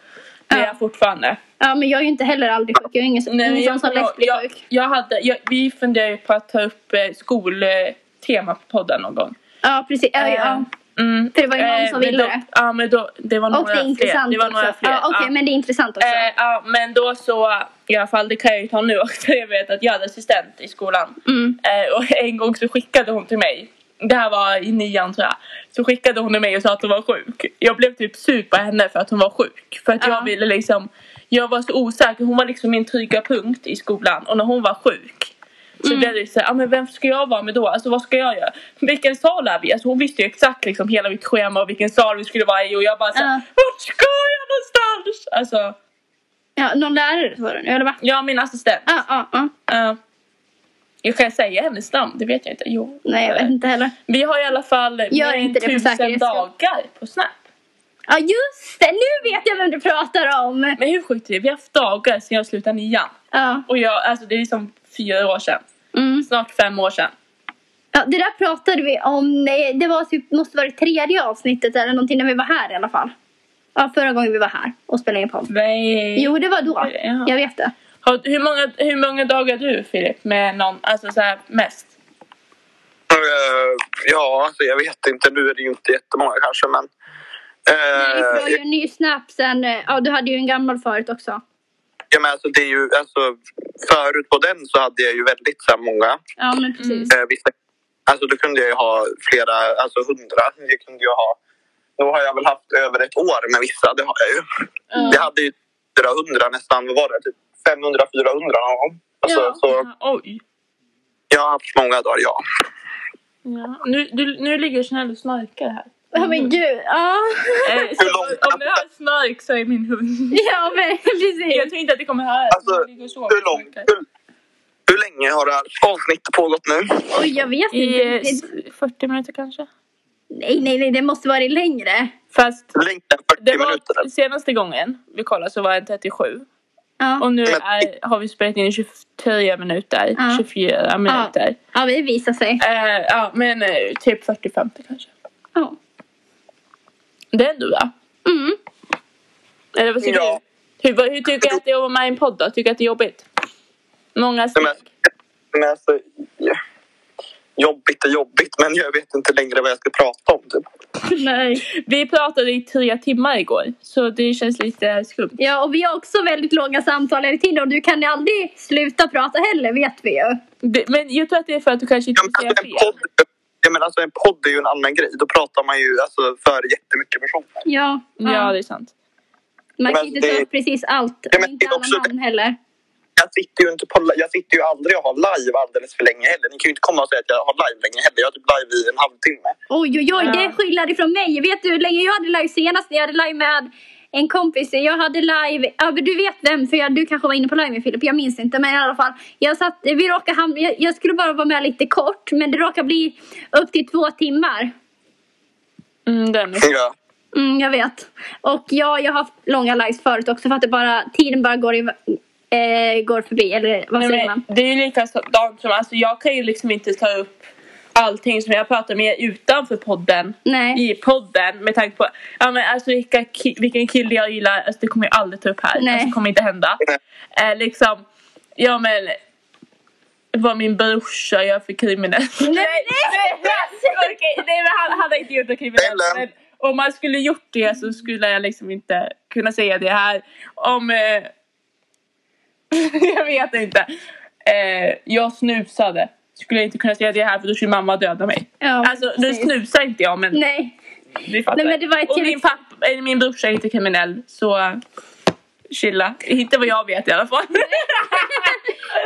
det är
Ja.
jag fortfarande.
Ja, men jag är ju inte heller aldrig sjuk. Jag är ingen,
Nej, men
ingen
jag,
sån som lätt blir
jag,
sjuk.
jag hade, jag, vi funderar ju på att ta upp eh, skoltema på podden någon gång.
Ja, precis. Ja, ja.
Mm.
För det var ju någon
Eh,
som
men
ville
då-
det.
Ja men då, det var
Och
några
det är
fler.
intressant
Det var
också.
några fler.
Ja, Okej,
ja.
men det är intressant också.
Eh, ja, men då så, i alla fall det kan jag ju ta nu också, *laughs* jag vet att jag hade assistent i skolan.
Mm.
Eh, och *laughs* en gång så skickade hon till mig, det här var i nian tror jag, så skickade hon till mig och sa att hon var sjuk. Jag blev typ sur på henne för att hon var sjuk. För att
Ja.
jag ville liksom, jag var så osäker, hon var liksom min trygga punkt i skolan och när hon var sjuk så
Mm.
blev det så här, ah, men vem ska jag vara med då? Alltså vad ska jag göra? Vilken sal är vi? Alltså hon visste ju exakt liksom hela mitt schema och vilken sal vi skulle vara i och jag bara såhär,
Ja.
vart ska jag någonstans? Alltså
Ja, någon lärare var det nu, eller va?
Ja, min assistent.
Ja, ja, ja.
Ja. jag kan säga hennes namn, det vet jag inte. Jo.
Nej, jag vet
Eh.
inte heller.
Vi har i alla fall mer än
inte det för
tusen
säkerhets skull.
dagar på Snap.
Ja, just det! Nu vet jag vem du pratar om!
Men hur sjukt är det? Vi har haft dagar sedan jag slutade nian.
Ja.
Och jag, alltså det är liksom fyra år sedan.
Mm.
Snart fem år sedan.
Ja, det där pratade vi om, nej, det var typ, måste vara det tredje avsnittet eller någonting när vi var här i alla fall. Ja, förra gången vi var här och spelade in podd.
Nej.
Jo, det var då.
Mm. Ja.
Jag vet det.
Har, hur, många, hur många dagar har du Filip med någon, alltså så här mest?
Eh, ja, alltså jag vet inte. Nu är det ju inte jättemånga kanske, men...
Nej, för du
eh,
har ju en ny snap sen, eh, ja du hade ju en gammal förut också.
Ja, men alltså, det är ju, alltså, förut på den så hade jag ju väldigt så här, många.
Ja, men
Mm.
precis.
Eh, vissa, alltså, då kunde jag ju ha flera, alltså hundra. Det kunde jag ha. Nu har jag väl haft över ett år med vissa, det har jag ju. Jag hade ju 400 nästan, vad var det? Typ 500-400 någon gång. Alltså,
Ja.
Så
Oj.
jag har haft många dagar, ja.
Ja. Nu, du, nu ligger Chanel och snarkar här.
Ja, men gud.
*laughs*
Ja,
Eh, så om du hör snark så är min hund.
ja men
Jag
precis.
tror inte att det kommer höras.
Alltså,
Jag ligger och sover.
Hur, lång, hur, hur länge har det här avsnittet pågått nu?
Oj, jag vet
I
inte.
eh,
riktigt.
s- 40 minuter kanske.
Nej, nej, nej, det måste vara längre.
Fast
Längre än 40
det
minuter?
var senaste gången vi kollade så var det 37.
Ja.
Och nu
Men-
är, har vi spelat in 23 minuter,
Ja.
24 minuter.
ja, det visar sig.
Eh, Ja, men eh, typ 40-50 kanske.
Ja.
Det är du va?
Mm.
Eller vad tycker
Ja.
du? Hur, vad- hur tycker du att det är att vara med i en podd då? Tycker du att det är jobbigt? Många steg?
men- Men alltså, ja. jobbigt är jobbigt, men jag vet inte längre vad jag ska prata om. Typ.
Nej.
Vi pratade i tre timmar igår så det känns lite skumt.
Ja, och vi har också väldigt långa samtal hela tiden och du kan ju aldrig sluta prata heller, vet vi ju.
Det- Men jag tror att det är för att du kanske inte
Ja,
vill
men
säga
alltså, en,
fel.
podd, ja, men alltså, en podd är ju en annan grej. Då pratar man ju alltså, för jättemycket personer.
Ja.
Ja, det är sant.
Man kan
Men
inte ta
det-
upp precis allt
Ja,
och
men
inte
det är
alla
också-
namn heller.
Jag sitter ju, inte på, li- jag sitter ju aldrig och har live alldeles för länge heller. Ni kan ju inte komma och säga att jag har live länge heller. Jag har typ live i en halvtimme.
Oj, oj, oj,
Ja.
det är skillnad ifrån mig. Vet du hur länge jag hade live senast? Jag hade live med en kompis. Jag hade live, ja men du vet vem, för jag, du kanske var inne på live med Filip, jag minns inte. Men i alla fall, jag, satt, vi råkade hamna, jag, jag skulle bara vara med lite kort, men det råkade bli upp till två timmar.
Mm, det är mycket.
Ja.
Mm, jag vet. Och ja, jag har haft långa lives förut också för att det bara, tiden bara går, i, eh, går förbi. Eller vad
Nej,
säger
men
man?
det är ju likadant som, alltså jag kan ju liksom inte ta upp allting som jag pratar med utanför podden
Nej.
i podden med tanke på ja, men alltså, vilka, ki- vilken kille jag gillar. Alltså, det kommer jag aldrig ta upp här.
Nej.
Alltså, det kommer inte hända. Eh, liksom, ja men vad min brorsa gör för kriminellt. Nej, nej, nej, okej, nej men han hade inte gjort något kriminellt.
Ellen.
Men om man skulle gjort det så skulle jag liksom inte kunna säga det här. Om... Eh, *laughs* jag vet inte. Eh, jag snusade. Skulle jag inte kunna säga det här för då skulle mamma döda mig.
Ja,
Alltså nu
precis.
snusar inte jag men
Nej.
vi fattar.
Nej, men det var ett
och min,
kriminellt-
pappa, eller min brorsa är inte kriminell så eh, chilla. Inte vad jag vet i alla fall. *laughs*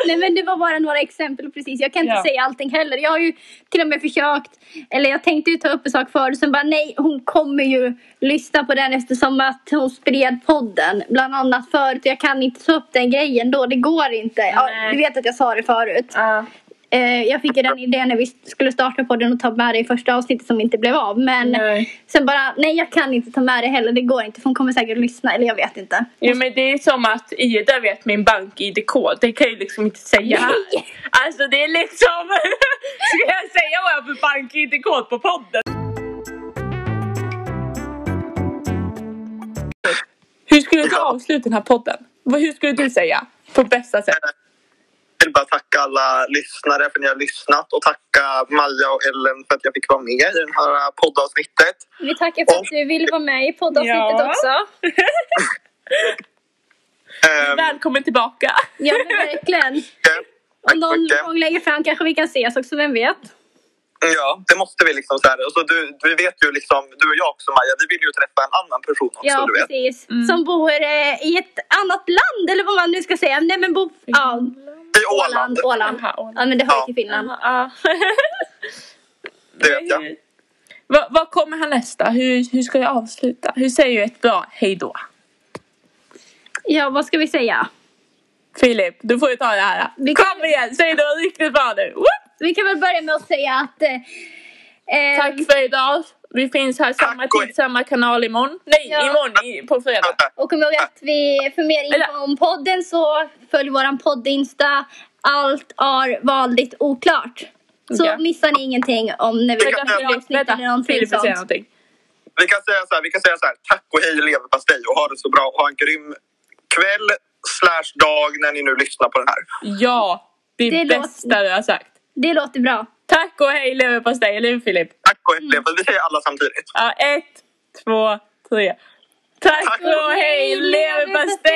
Nej men det var bara några exempel precis. Jag kan inte
Ja.
säga allting heller. Jag har ju till och med försökt. Eller jag tänkte ju ta upp en sak förut. Sen bara nej, hon kommer ju lyssna på den eftersom att hon spred podden. Bland annat förut. Jag kan inte ta upp den grejen då. Det går inte. Ja,
Nej.
du vet att jag sa det förut.
Ja.
Eh, jag fick ju den idén när vi skulle starta podden och ta med det i första avsnittet som inte blev av. Men
Nej.
sen bara nej, jag kan inte ta med det heller. Det går inte. För hon kommer säkert lyssna. Eller jag vet inte.
Jo men det är som att Ida vet min bank-id-kod. Det kan jag ju liksom inte säga här. Alltså det är liksom... *laughs* Ska jag säga vad jag har för bank-id-kod på podden? Hur skulle du avsluta den här podden? Vad- Hur skulle du säga? På bästa sätt?
Jag vill bara tacka alla lyssnare för att ni har lyssnat och tacka Maja och Ellen för att jag fick vara med i det här poddavsnittet.
Vi tackar för att du ville vara med i poddavsnittet
Ja.
också.
Ehm,
Välkommen tillbaka!
Ja, men verkligen.
tack
Om någon
mycket.
gång längre fram kanske vi kan ses också, vem vet?
Ja, det måste vi liksom så här. Och så du, du vet ju liksom, du och jag också Maja, vi vill ju träffa en annan person också
Ja,
du vet.
precis.
Mm.
Som bor eh, i ett annat land eller vad man nu ska säga. Nej, men bor... Ja,
I Åland,
Åland. Åland.
Aha, Åland.
Ja, men det hör ju
Ja.
till Finland.
Ja.
det vet jag.
*laughs* Vad, vad kommer här nästa? Hur, hur ska jag avsluta? Hur säger jag ett bra hejdå?
Ja, vad ska vi säga?
Filip, du får ju ta det här.
Vi kan-
Kom igen, säg det riktigt bra nu! Woop!
Vi kan väl börja med att säga att... eh, eh,
Tack för idag. Vi finns här samma
Tack och-
tid, samma kanal imorgon. Nej,
Ja.
imorgon i- på fredag.
Och kom ihåg att vi, för mer info
Eller-
om podden så följ våran podd-insta. Allt är väldigt oklart. Så
Ja.
missar ni ingenting om när
Vänta,
vi släpper
Filip,
avsnitt eller
vänta.
någonting
Filip vill säga
sånt.
någonting.
Vi kan säga så här, vi kan säga så här, tack och hej leverpastej och ha det så bra och ha en grym kväll slash dag när ni nu lyssnar på den här.
Ja, det,
Det låter-
bästa du har sagt.
Det låter bra.
Tack och hej leverpastej, eller hur Filip?
Tack och hej,
Mm.
leverpastej. vi säger alla samtidigt.
Ja, ett, två, tre. Tack,
Tack
och hej leverpastej!